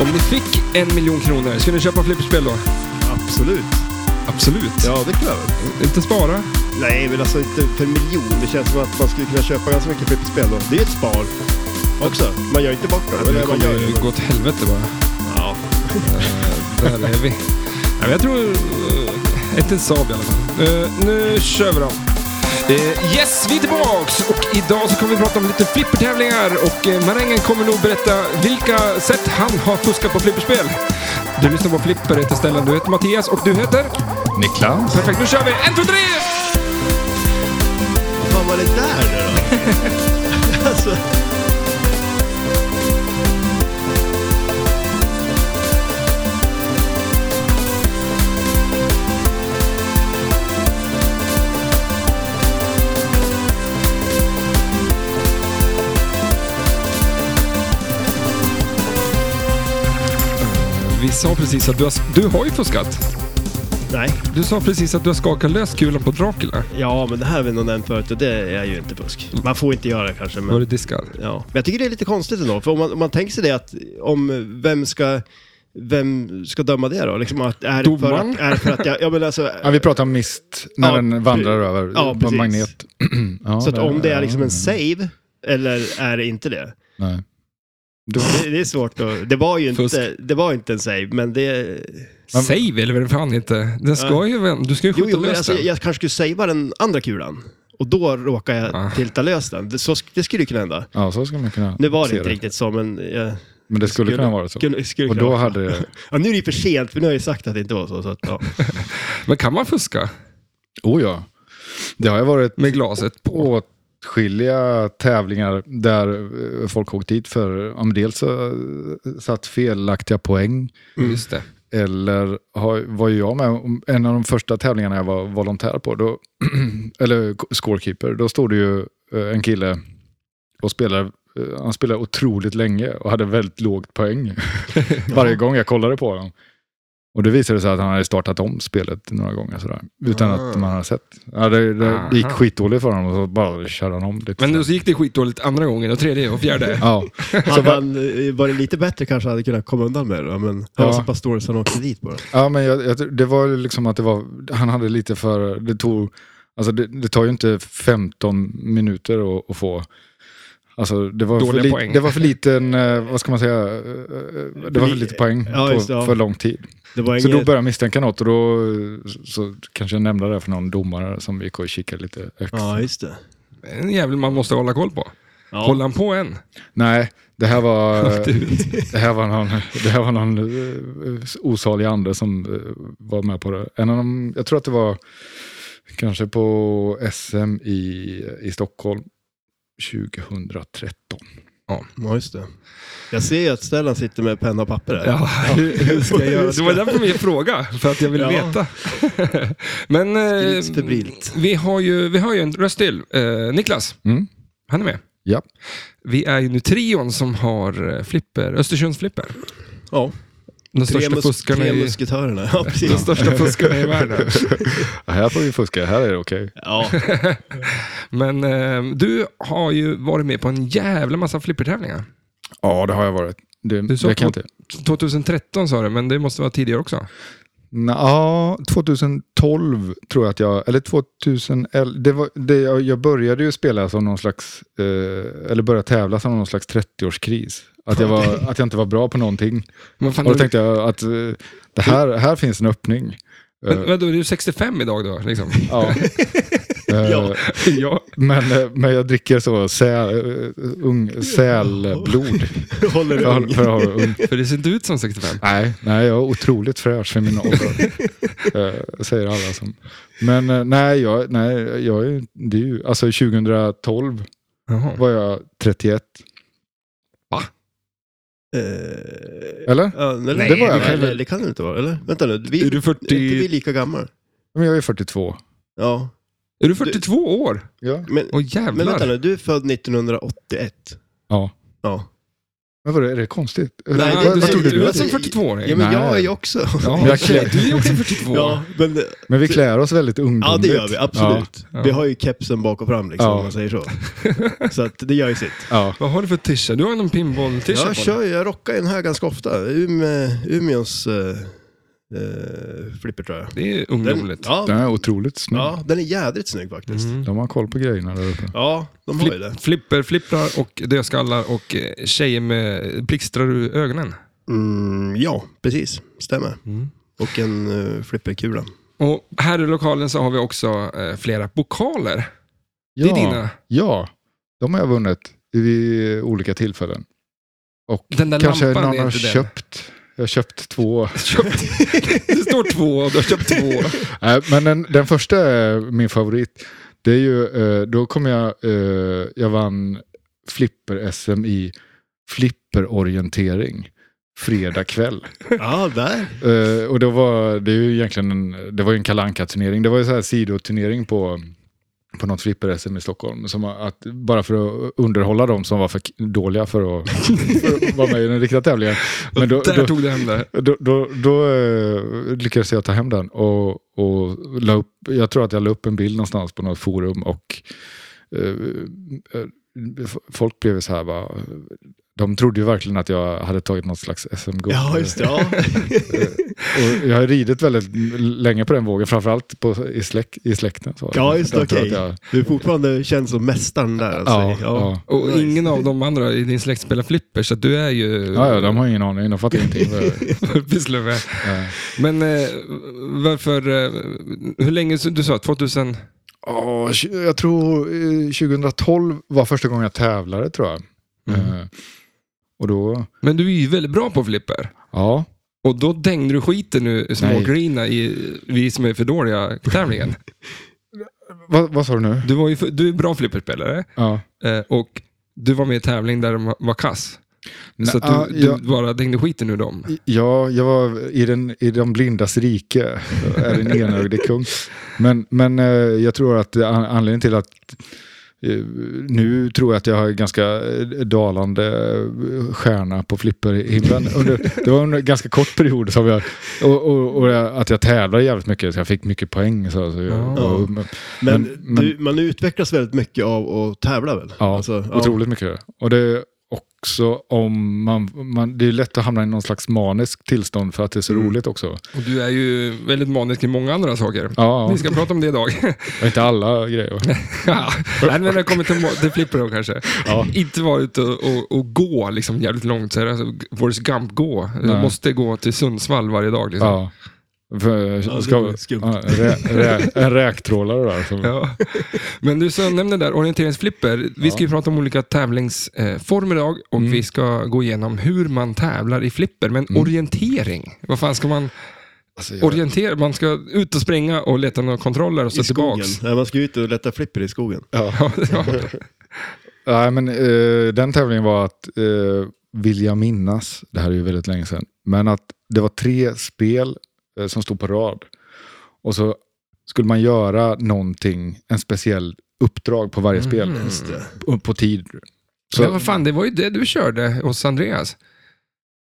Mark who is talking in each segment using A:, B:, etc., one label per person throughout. A: Om ni fick en miljon kronor, skulle ni köpa flipperspel då?
B: Absolut.
A: Absolut.
B: Ja, det kan jag väl.
A: Inte spara.
B: Nej, men alltså inte för en miljon. Det känns som att man skulle kunna köpa ganska mycket flipperspel då. Det är ett spar också. Man gör inte bort dem.
A: Det
B: Eller man gör
A: kommer ju
B: det.
A: gå åt helvete bara.
B: Ja.
A: Där är vi. Ja, men jag tror... eh, Ett en Saab i alla fall. Eh, nu kör vi då. Eh, yes, vi är tillbaks! Och idag så kommer vi prata om lite flippertävlingar och eh, Marängen kommer nog berätta vilka sätt han har fuskat på flipperspel. Du lyssnar på Flipper, heter Stellan, du heter Mattias och du heter?
C: Niklas.
A: Perfekt, nu kör vi! En, två, tre!
B: Vad fan var det där nu då? alltså.
A: Vi sa precis att du har, du har ju fuskat.
B: Nej.
A: Du sa precis att du har skakat lös kulan på Dracula.
B: Ja, men det här har vi nog nämnt förut och det är ju inte fusk. Man får inte göra det kanske, men...
A: Var du diskad?
B: Ja, men jag tycker det är lite konstigt ändå. För om man, om man tänker sig det att om vem ska, vem ska döma det då? Liksom att är det för
A: Domaren?
B: att, är det för att jag, ja men alltså,
C: Ja, vi pratar om mist när
B: Ja,
C: den vandrar
B: pre-
C: över.
B: ja,
C: På
B: precis.
C: Magnet. Ja,
B: så att om det är liksom en
C: ja,
B: save eller är det inte det?
C: Nej. Då,
B: Det, det är svårt att, det var ju
A: Fusk.
B: inte, det var inte en save, men det...
C: Man-
A: Save eller vad fan inte. Den ska
B: Ja.
A: ju, vän- du ska ju
B: Jo,
A: skjuta
B: jo men
A: lös
B: alltså,
A: den.
B: jag kanske skulle savea den andra kulan. Och då råkar jag
A: Ah.
B: tilta lös den. Det, så, sk- det skulle ju kunna hända.
C: ja, så skulle man kunna
B: Nu var det
C: se
B: inte riktigt så, men... Jag,
C: Men det skulle,
B: Skulle-
C: kunna vara så.
B: skulle, skulle
C: Och
B: kunna
C: då
B: vara så.
C: hade det...
B: Ja, nu är det ju för sent, för nu har jag ju sagt att det inte var så. så att, ja.
A: Men kan man fuska
C: Oh ja. Det har ju varit
A: med glaset på?
C: åtskilliga tävlingar där eh, folk åkt dit för om dels så eh, satt felaktiga poäng
B: Mm.
A: Just det.
C: eller har, var ju jag med om en av de första tävlingarna jag var volontär på, då, eller k- scorekeeper, då stod det ju eh, en kille och spelade, eh, han spelade otroligt länge och hade väldigt lågt poäng varje gång jag kollade på honom. Och det visade sig att han hade startat om spelet några gånger sådär, utan att man hade sett. Ja, det, det, det gick
A: Aha.
C: skitdåligt för honom och så bara körde han om lite.
A: Men
C: sådär.
A: då så gick det skitdåligt andra gången och tredje och fjärde.
C: Ja,
B: Hade han eh, varit lite bättre kanske hade kunnat komma undan med det då, men han
C: Ja.
B: var så pass dålig så han åkte dit bara.
C: Ja, men jag, jag, det var ju liksom att det var, han hade lite för, det tog, alltså det, det tar ju inte 15 minuter att, att få, alltså det var, för,
A: Dåliga
C: li,
A: poäng.
C: det var för liten, eh, vad ska man säga, eh, eh, det var för lite poäng
B: Ja,
C: på,
B: just det, ja.
C: för lång tid.
B: Det var
C: Så då
B: inget...
C: började jag misstänka något och då eh, så kanske jag nämnde det för någon domare som vi gick och kikade lite extra.
B: Ja, just det.
A: En jävel man måste hålla koll på.
B: Ja.
A: Håller han på än?
C: Nej, det här var, det här var någon, det här var någon eh, osalig ande som eh, var med på det. En av dem, jag tror att det var kanske på SM i, i Stockholm 2013.
B: ja, just det. Jag ser ju att Stellan sitter med penna och papper där.
A: hur, hur ska jag göra? Det var därför min fråga, för att jag ville
B: Ja.
A: veta. Men eh,
B: Skrivs febrilt.
A: vi, har ju, vi har ju en röst till. Eh, Niklas,
C: Mm.
A: han är med.
C: Ja.
A: Vi är ju nu trion som har eh, flipper, Östersunds flipper.
B: Ja,
A: De
B: tre,
A: största
B: mus-
A: fuskarna
B: tre
A: i,
B: musketörerna. Ja,
A: de
B: precis.
A: största fuskarna i världen.
C: Ja, här får vi fuska, här är det okej.
B: Ja,
A: Men eh, du har ju varit med på en jävla massa flippertävlingar.
C: Ja, det har jag varit. Det,
A: Du sa
C: det kan jag
A: två-
C: inte.
A: 2013 sa du, men det måste vara tidigare också.
C: Nå, Ja, 2012 tror jag att jag, eller 2011, det var, det, jag, jag började ju spela som någon slags, eh, eller började tävla som någon slags 30-årskris. Att jag, var, att jag inte var bra på någonting.
A: Men fan,
C: Och då
A: du-
C: tänkte jag att eh, det här, här finns en öppning. Eh,
A: Men, vadå, är du 65 idag då? Liksom?
C: ja. Eh,
B: Ja.
A: ja.
C: Men, eh, men jag dricker så sä, eh, ung, sälblod
B: håller du
C: för, att-
B: ung?
C: för att hålla ung.
A: För det ser inte ut som 65.
C: Nej, nej, jag är otroligt fräsch för min ålder. eh, säger alla som... Men eh, nej, jag, nej, jag är, ju- det är ju... Alltså 2012
A: Jaha.
C: var jag 31.
B: Eh,
C: Eller?
B: Ja, nej,
C: Nej,
B: det,
C: det
B: var
C: kan
B: jag
C: väl-
B: väl. det kan du inte vara, eller? Vänta nu, vi,
A: Är du 40
B: är inte vi lika gammal?
C: Men jag är 42.
B: Ja,
A: Är du 42 år?
C: Ja.
B: men,
A: Åh
B: men
A: jävlar.
B: vänta nu, du är född 1981.
C: ja.
B: Ja,
C: Men vadå, är det konstigt?
B: Nej,
C: Vad-
B: det-
C: vad
B: det-
C: stod
A: du,
B: det-
A: du
B: det-
A: är som 42-åring.
B: Ja, men
C: Nej.
B: jag är ju också...
A: Ja,
C: Jag
A: okej,
C: klär-
A: du är också 42.
B: Ja, men,
C: Men vi klär oss väldigt ungdomligt.
B: ja, det gör vi. Absolut.
A: Ja, ja.
B: Vi har ju kepsen bak och fram, liksom,
C: Ja.
B: om man säger så. Så att det gör ju sitt.
C: Ja.
A: Vad har du för tisha? Du har någon pinball-tisha på
B: Jag
A: dig.
B: kör ju, jag rockar ju den här ganska ofta. Ume, Umeås eh, eh, flipper tror jag.
A: Det är
B: Den,
A: ungdomligt.
C: Den
B: ja,
C: är otroligt snygg.
B: ja, den är jädrigt snygg faktiskt.
A: Mm.
C: De har koll på grejerna där uppe.
B: Ja, de har ju det.
A: Flipp, flipper, flipprar och dödskallar och eh, tjejer med blixtrar ur ögonen.
B: Mm, ja, precis. Stämmer.
C: Mm.
B: Och en uh, flipperkula.
A: Och här i lokalen så har vi också eh, flera pokaler.
C: Ja,
A: Det är dina.
C: Ja, de har jag vunnit vid olika tillfällen. Och
A: Den där
C: kanske någon
A: lampan är
C: har
A: inte den.
C: köpt. Jag har köpt två.
A: Köpt. Det står två och du har köpt två.
C: Nej, men den, den första är min favorit. Det är ju, eh, då kom jag, eh, jag vann flipper-SM i flipperorientering fredag kväll.
B: Ja, där.
C: Eh, och då var det är ju egentligen en, det var ju en kalanka turnering Det var ju så här sidoturnering på, på något flipper-SM i Stockholm. Som att, bara för att underhålla dem som var för k- dåliga för att, för att vara med i den riktiga tävlingen. Men då,
A: Där
C: då,
A: tog du hem det.
C: då, då, då eh, lyckades jag ta hem den och, och la upp, jag tror att jag la upp en bild någonstans på något forum och eh, eh, f- folk blev så här bara, de trodde ju verkligen att jag hade tagit något slags SM-guld.
B: Ja, just det. Ja.
C: Och jag har ridit väldigt länge på den vågen, framförallt på, i, släk, i släkten. Så.
B: Ja, just det.
C: Jag tror
B: Okej.
C: att jag-
B: Du är fortfarande känd som mästaren där. Alltså.
C: Ja, ja.
A: Och ingen av de andra i din släkt spelar flipper, så att du är ju...
C: Ja, ja, de har ingen aning, de fattar ingenting.
A: pysslar med.
C: Eh,
A: Men eh, varför... Eh, hur länge... Du sa 2000...
C: Ja, tj- jag tror eh, 2012 var första gången jag tävlade tror jag. Eh, Och då,
A: Men du är ju väldigt bra på flipper.
C: ja,
A: Och då dängde du skiten nu
C: Nej.
A: smågrina i vi som är för dåliga på tävlingen.
C: vad, vad sa du nu?
A: Du, var ju för, du är bra flipperspelare
C: Ja.
A: eh, och du var med i tävling där de var kass.
C: Nej,
A: Så att du,
C: ah, ja,
A: du
C: jag-
A: bara dängde skiten ur dem.
C: Ja, jag var i, den, i de blindas rike, är en enögde kung. Men, men eh, jag tror att an- anledningen till att eh, nu tror jag att jag har en ganska eh, dalande eh, stjärna på flipperhimlen. Under, det var under en ganska kort period som jag, och, och, och jag- att jag tävlade jävligt mycket, så jag fick mycket poäng. Så, så jag,
A: Ja.
C: och,
B: Men,
C: Men-
B: du, man utvecklas väldigt mycket av att tävla väl?
C: Ja,
B: Alltså,
C: Otroligt mycket. Och det är också om man, man, det är lätt att hamna i någon slags manisk tillstånd för att det är så roligt också.
A: Och du är ju väldigt manisk i många andra saker.
C: Ja,
A: Vi ska prata om det idag.
C: och inte alla grejer.
A: Ja. Nej, men när det kommer till, må- till flipper då kanske.
C: Ja.
A: Inte vara ute och, och, och gå liksom jävligt långt. Så här, alltså, Forrest Gump, gå. Du
C: Nej.
A: måste gå till Sundsvall varje dag. Liksom.
C: Ja. För,
B: det
C: ska,
B: var skumt.
C: ja, rä, rä, en räktrålare där. Som,
B: Mm.
A: Ja. Men du som nämnde där, orienteringsflipper. Vi ska ju prata om olika tävlingsformer idag och
B: Mm.
A: vi ska gå igenom hur man tävlar i flipper. Men orientering, vad fan ska man
C: alltså, jag,
A: orientera? Man ska ut och springa och leta några kontroller och
B: I
A: så
B: skogen.
A: tillbaks.
B: Nej, man ska ju ut och leta flipper i skogen.
A: Ja, ja.
C: nej, men, eh, den tävlingen var att, eh, vill jag minnas, det här är ju väldigt länge sedan, men att det var tre spel eh, som stod på rad. Och så skulle man göra någonting, en speciell uppdrag på varje spel på, på tid. Så,
A: Men vad fan, det var ju det du körde hos Andreas.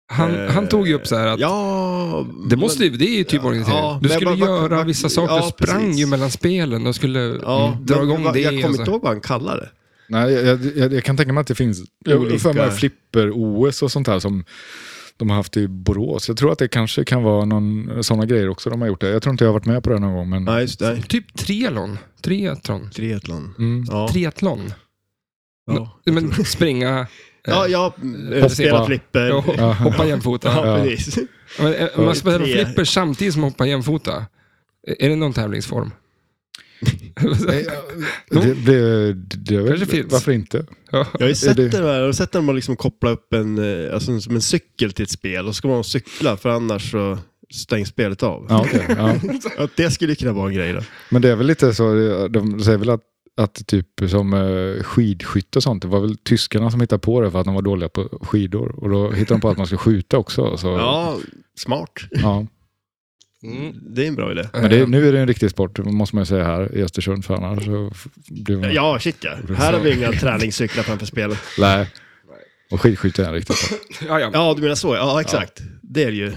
A: Han,
B: Eh,
A: han tog ju upp så här att
B: Ja,
A: det, måste,
B: men-
A: ju- det är ju typ
B: Ja,
A: orientering.
B: ja,
A: du
B: men
A: skulle
B: vad- vad-
A: göra
B: vad-
A: vissa saker.
B: ja,
A: du sprang
B: precis.
A: ju mellan spelen och skulle
B: Ja,
A: Mm. dra
B: men
A: igång
B: vad-
A: det.
B: Jag
A: och
B: kommer
A: så.
B: inte ihåg vad han kallar det.
C: Nej, jag, jag, jag kan tänka mig att det finns
B: Olika.
C: olika. för mig flipper-OS och sånt här som de har haft i Borås. Jag tror att det kanske kan vara någon sådana grejer också de har gjort. Det. Jag tror inte jag har varit med på det någon gång. Men,
B: Nej, just det. Nej.
A: Typ triathlon. Triathlon.
B: Triathlon.
C: mm.
B: Ja.
A: Triathlon.
B: Ja.
A: Men springa,
B: Ja, jag
C: Hoppa.
B: har spelat flipper.
A: och
B: Ja,
A: ho- hoppa jämfota.
C: Ja.
B: precis.
A: Men, eh, Man spelar
B: Tre.
A: flipper samtidigt som man hoppar jämfota. Eh, Är det någon tävlingsform?
C: Nej, jag- Eh, det, det, det, det,
A: Kanske finns.
C: Varför inte?
A: Ja.
B: Jag har ju sett
C: det-
B: det där, jag har sett när man liksom kopplar upp en, eh, alltså, som en cykel till ett spel och så ska man cykla för annars så stängs spelet av.
C: Ja, okej, ja.
B: Att det skulle kunna vara en grej då.
C: Men det är väl lite så, de säger väl att, att typ som eh, skidskytte och sånt, det var väl tyskarna som hittade på det för att de var dåliga på skidor. Och då hittade de på att man ska skjuta också. Så,
B: Ja, smart.
C: ja.
A: Mm.
B: Det är en bra idé.
C: Men det, är- nu är det en riktig sport, måste man ju säga här i Östersund, för annars så f- blir man...
B: Ja, shit ja. Här har vi inga träningscyklar framför spelet.
C: Nej. Och skidskytte är en riktigt
A: Ja, ja.
B: Ja, du menar så. Ja, exakt. Det är det ju.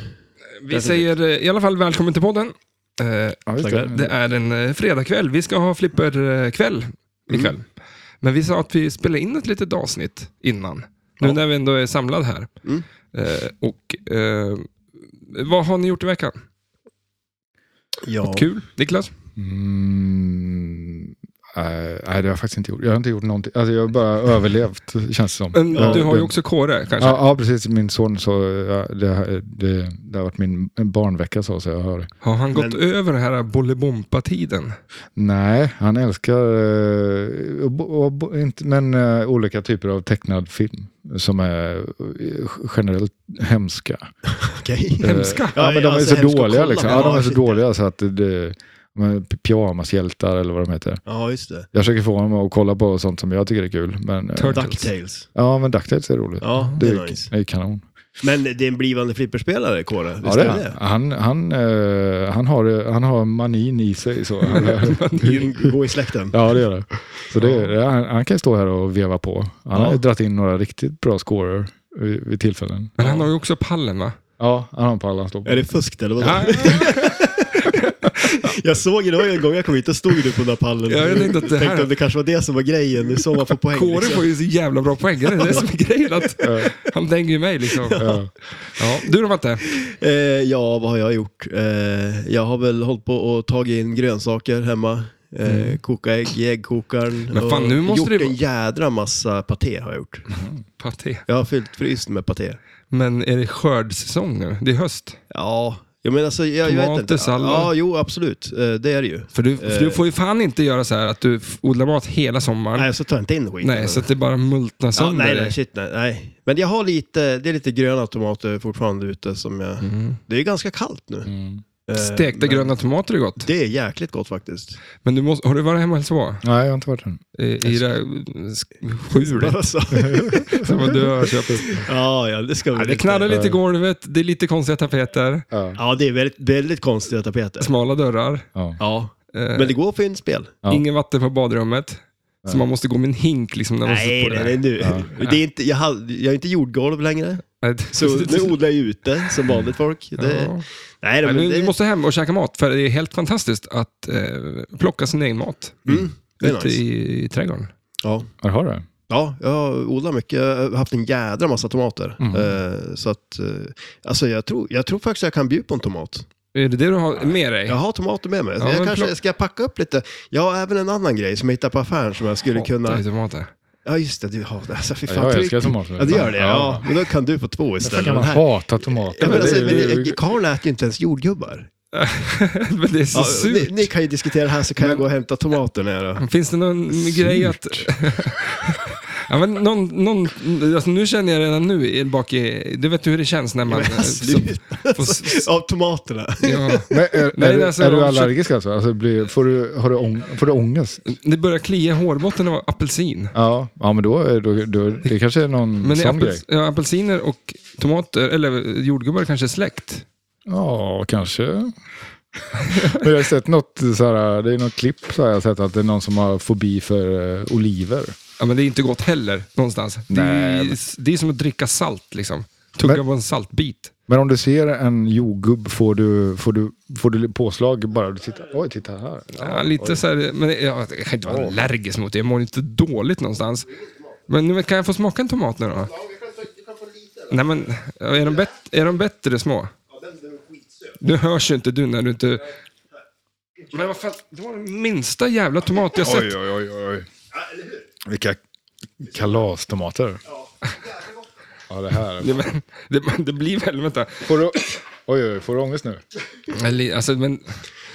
A: Vi säger eh, i alla fall välkommen till podden. Eh,
C: ja, just
B: Tackar.
A: Det
C: det.
A: är en eh, fredagkväll. Vi ska ha flipperkväll ikväll.
B: Mm.
A: Men vi sa att vi spelar in ett litet avsnitt innan. Nu
B: Ja.
A: när vi ändå är samlade här.
B: Mm.
A: Eh, och eh, Vad har ni gjort i veckan?
B: Ja.
A: Kul? Niklas?
C: Mm, eh, nej, det har jag faktiskt inte gjort. Jag har inte gjort någonting. Alltså, jag har bara överlevt, känns det som.
A: Men
B: Ja.
A: Du har ju också Kåre kanske?
C: Ja, ja, precis. Min son så ja, det, det, det har varit min barnvecka så, så jag hör.
A: Har han gått
B: Men-
A: över den här Bolibompa-tiden?
C: Nej, han älskar eh, och, bo- och, bo- inte, men eh, olika typer av tecknad film som är eh, generellt hemska.
B: Okej.
A: Hemska?
C: Eh, Ja, men de är
B: alltså,
C: så
B: hemskt att
C: dåliga
B: kolla
C: liksom.
B: på.
C: Ja, de är så
B: shit.
C: dåliga så att det- det, men p- pyjamashjältar eller vad de heter.
B: Ja, just det.
C: Jag försöker få honom att kolla på sånt som jag tycker är kul. Men, eh,
A: Turtles.
B: Ducktails.
C: ja, men DuckTales är roligt.
B: Ja, det
C: det,
B: är
C: är,
B: nice.
C: det är kanon.
B: Men det är en blivande flipperspelare, Kåre. Visst
C: Ja, det är. Han, han, eh, han, har, han har manin i sig. Så han,
B: det? Gå i släkten.
C: ja, det gör det. Så det, är- han, han kan stå här och veva på. Han har
B: Ja.
C: ju dragit in några riktigt bra scorer vid, vid tillfällen.
A: Men han har ju också pallen va?
C: Ja, han har en pall han står på.
B: Är det fusk eller vadå?
A: Ja,
B: Jag såg det var ju en gång jag kom hit, då stod du på den där pallen.
A: Ja, jag tänkte att det här-
B: Tänkte om det kanske var det som var grejen, det är så man får poäng.
A: Kåre
B: liksom.
A: får ju så jävla bra poäng. Det är det som är grejen. Att
C: Eh,
A: han dänger ju mig liksom.
C: eh,
A: Ja. Du då Matte?
B: eh, ja, vad har jag gjort? Eh, jag har väl hållit på och tagit in grönsaker hemma. Eh, Koka ägg i äggkokaren.
A: Mm. Men fan,
B: och
A: nu måste
B: gjort
A: det vara-
B: en jädra massa paté har jag gjort.
A: Paté.
B: Jag har fyllt frysen med paté.
A: Men är det skördssäsong nu? Det är höst.
B: Ja, jag menar alltså, jag, jag vet
A: Tomater,
B: inte.
A: sallad.
B: Ja, jo absolut. Eh, det är det ju.
A: För du, för du får ju fan inte göra så här att du f- odlar mat hela sommaren. Nej,
B: Nej, så tar jag inte in skiten.
A: så att det bara multnar
B: ja,
A: sönder.
B: nej,
A: dig.
B: nej, shit, nej, nej. Men jag har lite, det är lite gröna tomater fortfarande ute som jag...
A: Mm.
B: Det är ganska kallt nu.
C: mm.
B: Eh,
A: Stekta
B: men
A: gröna tomater är gott.
B: Det är jäkligt gott faktiskt.
A: Men du måste, har du varit hemma och hälsat på?
C: Nej, jag har inte varit än.
A: I, i det där sk- skjulet
B: Alltså.
A: som du har köpt.
B: ja, ja, det ska
A: Ja,
B: vi.
A: det knarrar lite i golvet, det är lite konstiga tapeter,
C: Ja.
B: Ja, det är väldigt, väldigt konstiga tapeter.
A: smala dörrar,
C: Ja.
B: Ja,
A: eh,
B: men det går för inspel.
C: Ja.
A: ingen vatten på badrummet. Så
C: Nej.
A: man måste gå med en hink liksom när man
B: Nej,
A: sitter på
B: nej,
A: det.
B: nej, nu.
C: Ja.
B: Det är inte, jag, har, jag har inte jordgolv längre.
A: Nej,
B: Så nu odlar jag ute som vanligt folk. Det,
A: ja.
B: Nej,
A: Nej,
B: men
A: men
B: det,
A: vi måste hem och käka mat, för det är helt fantastiskt att eh, plocka sin egen mat
B: mm, det är
A: ute
B: nice.
A: i, i trädgården.
B: Ja.
C: Jaha du.
B: Ja, jag odlar mycket. Jag har haft en jädra massa tomater.
C: Mm.
B: Eh, så att, eh, alltså jag tror, jag tror faktiskt jag kan bjuda på en tomat.
A: Är det det du har med dig?
B: Jag har tomater med mig.
A: Ja, men
B: jag kanske
A: plock-
B: ska jag packa upp lite. Jag har även en annan grej som jag hittade på affären som jag skulle kunna...
A: Tomater.
B: Ja, just det. Du har det. Alltså, fy
C: Ja,
B: fan.
C: jag
B: tryck-
C: älskar tomater.
B: Ja, det gör det. Ja. Men då kan du få två
C: Varför
B: istället.
C: kan man
B: Den här-
C: hata tomater?
B: Ja, men
C: Det
B: alltså,
C: är ju-
B: men, eh, Karl äter ju inte ens jordgubbar.
A: Men det är så
B: Ja, ni,
A: surt.
B: ni kan ju diskutera det här så kan jag gå och hämta tomater när
C: Mm.
B: jag då.
A: Finns det någon grej att... ja, men någon, någon, alltså, nu känner jag redan nu i- bak i... Du vet hur det känns när
B: Ja,
A: man...
B: men
A: eh,
B: alltså,
C: liksom-
B: du-
A: så- får s-
B: Av tomaterna.
A: ja.
C: Men är,
A: Nej,
C: är, du-
A: alltså,
C: är
A: om-
C: du allergisk alltså? alltså blir, får, du, har du ång, får du ångest?
A: Det börjar klia i hårbotten av apelsin.
C: Ja, ja men då, är- då, då det kanske är någon
A: Men är
C: sån grej.
A: apels, ja, apelsiner och tomater, eller jordgubbar kanske är släkt?
C: Ja, kanske. men jag har sett något, så här, det är något klipp så här, jag har sett att det är någon som har fobi för eh, oliver.
A: Ja, men det är inte gott heller någonstans. Det är,
C: Nej,
A: ju- det är som att dricka salt liksom. Tugga
C: Men-
A: på en saltbit.
C: Men om du ser en jordgubb får du, får du, får du påslag bara du tittar. Oj, titta här.
A: Ja, lite så här, men jag, jag kan inte vara allergisk mot det. Jag mår inte dåligt någonstans. Men nu, kan jag få smaka en tomat nu då? Nej men, är de, bet, är de bättre små? Du hörs ju inte du när du inte... Men vad fan, det var den minsta jävla tomat jag sett.
C: Oj, oj, oj, oj. Vilka kalastomater. Ja, det här.
A: Det, men, det, men det blir väl, vänta.
C: Får du, oj, oj, får du ångest nu?
A: Eller, Alltså, men,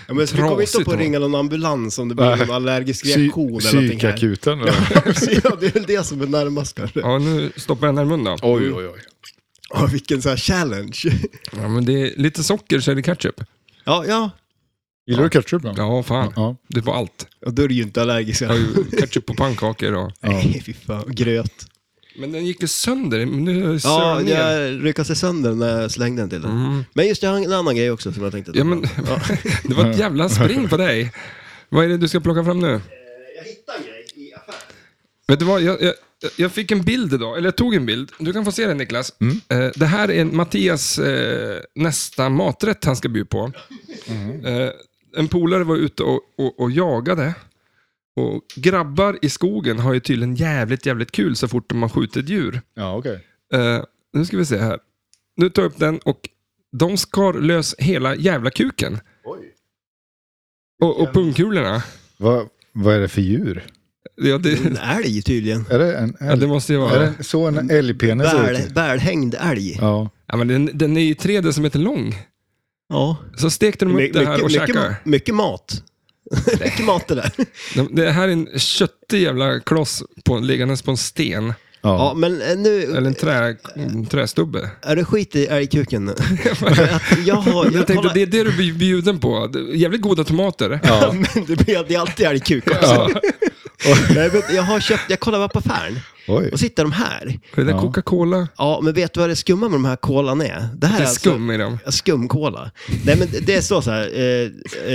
B: Ja, men så vi kommer inte
A: Trasigt
B: upp och
A: då.
B: ringa någon ambulans om det blir någon
C: Nej.
B: allergisk
C: Psy-
B: reaktion eller någonting här.
C: Psykakuten? eller?
B: ja, det är väl det som är närmast kanske.
A: ja, nu stoppar jag den här i munnen då.
C: Oj, oj, oj.
B: Ja, vilken så här challenge.
A: Ja, men det är lite socker så är det ketchup.
B: ja, ja.
C: Gillar du ketchup? Då?
A: Ja, fan.
C: Ja.
A: Det är på allt.
B: ja då är du ju inte allergisk.
A: Jag har ju ketchup på pannkakor och...
B: Nej, fy fan. Gröt.
A: Men den gick ju sönder. Men Nu har jag
B: Ja,
A: sönder ner.
B: jag ryckade sig sönder när jag slängde den till den. Men just det, jag har en annan grej också som jag tänkte ta
A: Mm. Ja, men,
B: fram. Ja.
A: det var ett jävla spring på dig. Vad är det du ska plocka fram nu?
B: Jag hittade en grej i affären.
A: Vet du vad, jag, jag, jag fick en bild idag, eller jag tog en bild. Du kan få se den Niklas.
C: Mm.
A: Eh, det här är Mattias eh, nästa maträtt han ska bjuda på.
C: Mm.
A: Eh, en polare var ute och, och, och jagade. Och grabbar i skogen har ju tydligen jävligt, jävligt kul så fort de har skjutit djur.
C: Ja, okej.
A: Eh, nu ska vi se här. Nu tar jag upp den och de skar lös hela jävla kuken.
B: Oj.
A: Och, och pungkulorna.
C: Vad, vad är det för djur?
A: Ja, det,
B: En älg tydligen.
C: Är det en
A: ja,
C: älg?
A: det måste ju
C: Mm. Är
A: vara.
C: det så en älgpenis ser
B: Väl,
C: ut?
B: välhängd älg.
C: Ja.
A: Ja, men den, den är ju 3 decimeter lång.
B: Ja.
A: Så stekte de upp
B: My-
A: det här och
B: mycket,
A: käkade.
B: mycket mat. mycket mat det där.
A: De- Det här är en köttig jävla kloss på, liggandes på en sten.
B: Ja,
C: Ja.
B: men eh, nu...
A: Eller en trä, en trästubbe.
B: Är det skit i älgkuken? nu? jag har...
A: Jag tänkte,
B: kollar-
A: det är det du blir bjuden på. Det- Jävligt goda tomater.
C: ja.
B: Men det blir det är alltid älgkuk också.
A: Ja.
B: Nej, men jag har köpt, jag kollar bara på affären.
C: Oj.
B: Och sitter de här.
A: Det där
C: Ja.
A: Coca-Cola.
B: Ja, men vet du vad det skumma med de här kolan är? Det här
A: Det är
B: alltså-
A: skum i dem.
B: Skumkola. Nej, men det- det står så här. Eh, eh,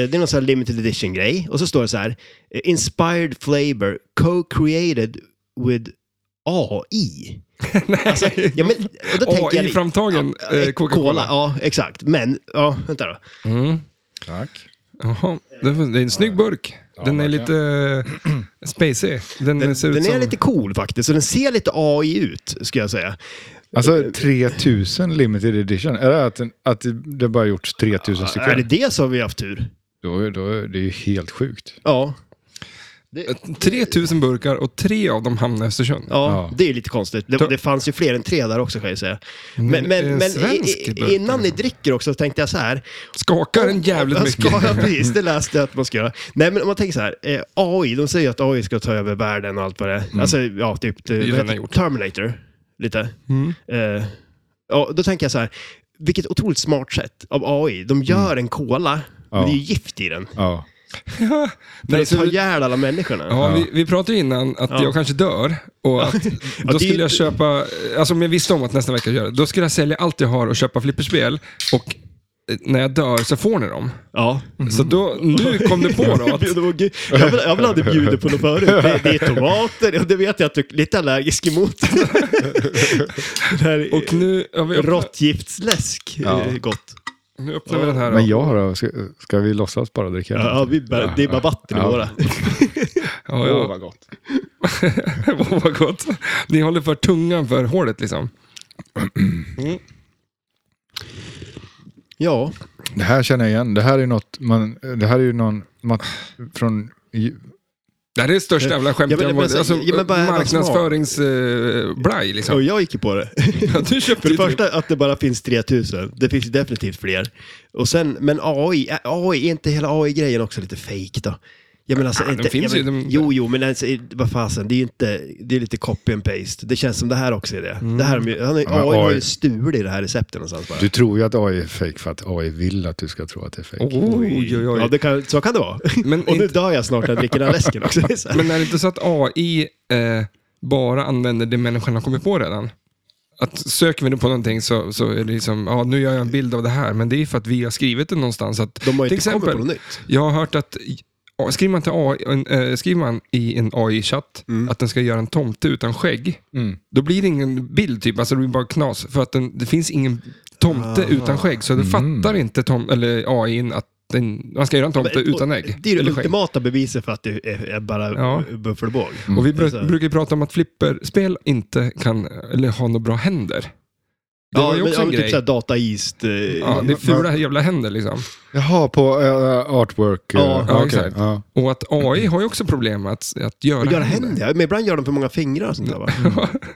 B: det är någon sån här limited edition-grej. Och så står det så här. eh, Inspired flavor co-created with AI. Alltså, ja, men, och då tänker jag...
A: AI-framtagen
B: Ja,
A: eh,
B: Cola,
A: Coca-Cola.
B: ja, exakt. Men, ja, vänta då.
A: Mm.
C: Tack.
A: Jaha. Det var- det är en snygg burk.
C: Ja,
A: Den är
C: verkligen.
A: lite eh, spacey. Den,
B: Den,
A: ser ut
B: den är
A: som...
B: lite cool faktiskt. Och den ser lite AI ut, ska jag säga.
C: Alltså 3000 limited edition. Är det att, den, att det bara gjorts 3000
B: Är det
C: stycken?
B: det så har vi haft tur?
C: Då, då, det är ju helt sjukt.
B: Ja.
A: Eh, 3000 burkar och tre av dem hamnar i Östersund.
B: Ja,
C: Ja.
B: det är ju lite konstigt. Det, det fanns ju fler än tre där också kan jag säga. Men,
A: är det
B: men,
A: en
B: men i,
A: svensk typ burk,
B: i, innan ni dricker också så tänkte jag så här.
A: Skakar den jävligt
B: Jag
A: mycket.
B: Ska, ja, precis, det läste jag att man ska göra. Nej, men om man tänker så här. Eh, AI, de säger ju att AI ska ta över världen och allt vad det är. Alltså, ja, typ det,
A: Mm. ju
B: vad
A: redan
B: heter det?
A: gjort.
B: Terminator. Lite.
A: Mm.
B: Eh, ja, då tänker jag så här. Vilket otroligt smart sätt av AI.
A: Mm.
B: De gör en cola, men
C: Ja.
B: det är ju gift i den.
C: Ja.
B: För
A: Nej,
B: att
A: så-
B: ta ihjäl alla människorna.
A: Ja,
C: Ja.
A: Vi, vi pratade ju innan att
B: Ja.
A: jag kanske dör. Och att,
B: det är
A: då skulle jag
B: inte-
A: köpa, alltså om jag visste om att nästa vecka gör det, då skulle jag sälja allt jag har och köpa flipperspel. Och eh, när jag dör så får ni dem.
B: Ja.
A: Så då, nu kom du på då att...
B: Det var gud. Jag vill, jag vill aldrig bjuda på något förut. Det, det är tomater och det vet jag att du är lite allergisk emot. det här
A: Och nu, ja, vi öppnar,
B: råttgiftsläsk
C: Ja.
B: är gott.
A: nu öppnar vi den här.
C: Men
A: Då.
C: jag har då, ska, ska vi låtsas bara dricka?
B: Ja, ja, vi bär, det är bara vatten i
C: Ja.
B: våra.
A: Ja, ja.
C: vad gott.
A: Åh, vad gott. Ni håller för tungan för hålet liksom.
B: Mm. Ja,
C: Det här känner jag igen. Det här är något, man, det här är ju någon, man, från,
A: Det här är det största jävla skämt
B: Ja, men-
A: jag
B: men
A: varit-
B: så-
A: alltså,
B: ja, men bara-
A: Marknadsföringsblaj
B: och
A: liksom.
B: jag gick ju på det.
A: Ja, du köpte
B: För det
A: ju typ-
B: första att det bara finns 3000. Det finns ju definitivt fler. Och sen, men AI, ä, AI, är inte hela AI-grejen också lite fake då? Jag menar alltså,
A: de
B: inte,
A: finns
B: jag
A: ju,
B: men,
A: de-
B: Jo, jo, men alltså, i- vad fasen, det är ju inte, det är lite copy and paste. Det känns som det här också är det. Det här, har
A: Mm.
B: de ju- han har ju-
C: Ja, men
B: AI har ju
C: AI
B: stulit det här receptet någonstans bara.
C: du tror ju att AI är fake för att AI vill att du ska tro att det är fake.
B: Oh.
A: Oj, oj, oj.
B: Ja, det kan, så kan det vara.
A: Men
B: och nu
A: inte-
B: dör jag snart när jag dricker den här läsken också. Det är så här.
A: Men är det inte så att AI eh, bara använder det människan har kommit på redan? Att söker vi nu på någonting så, så är det liksom, ja nu gör jag en bild av det här, men det är för att vi har skrivit det någonstans. Att,
B: De har ju
A: till
B: inte kommit
A: exempel,
B: på något nytt.
A: jag har hört att ja, skriver man, till AI, en, eh, skriver man i en AI-chatt
B: Mm.
A: att den ska göra en tomte utan skägg,
C: Mm.
A: då blir det ingen bild, typ, alltså det blir bara knas. För att den, det finns ingen tomte
B: Ah.
A: utan skägg, så det fattar inte tom, eller AI n att den, man ska göra en tomte
B: Men- och
A: utan ägg.
B: Det är ju det
A: eller skägg.
B: ultimata beviset för att det är, är bara
A: Ja. Mm.
B: buffelbåg.
A: Och vi bru-
B: Så här.
A: brukar ju prata om att flipperspel inte kan, eller har några bra händer. Det var ju också
B: men,
A: en
B: men
A: grej.
B: Typ såhär data east. eh,
A: ja, det är
C: men-
A: fula jävla händer liksom.
C: Jaha, på eh, artwork. eh,
B: Ja,
A: ja,
C: okej.
A: exakt.
C: Ja.
A: Och att AI har ju också problem med att, att göra,
B: Och göra händer, ja. men ibland gör de för många fingrar och sånt där va?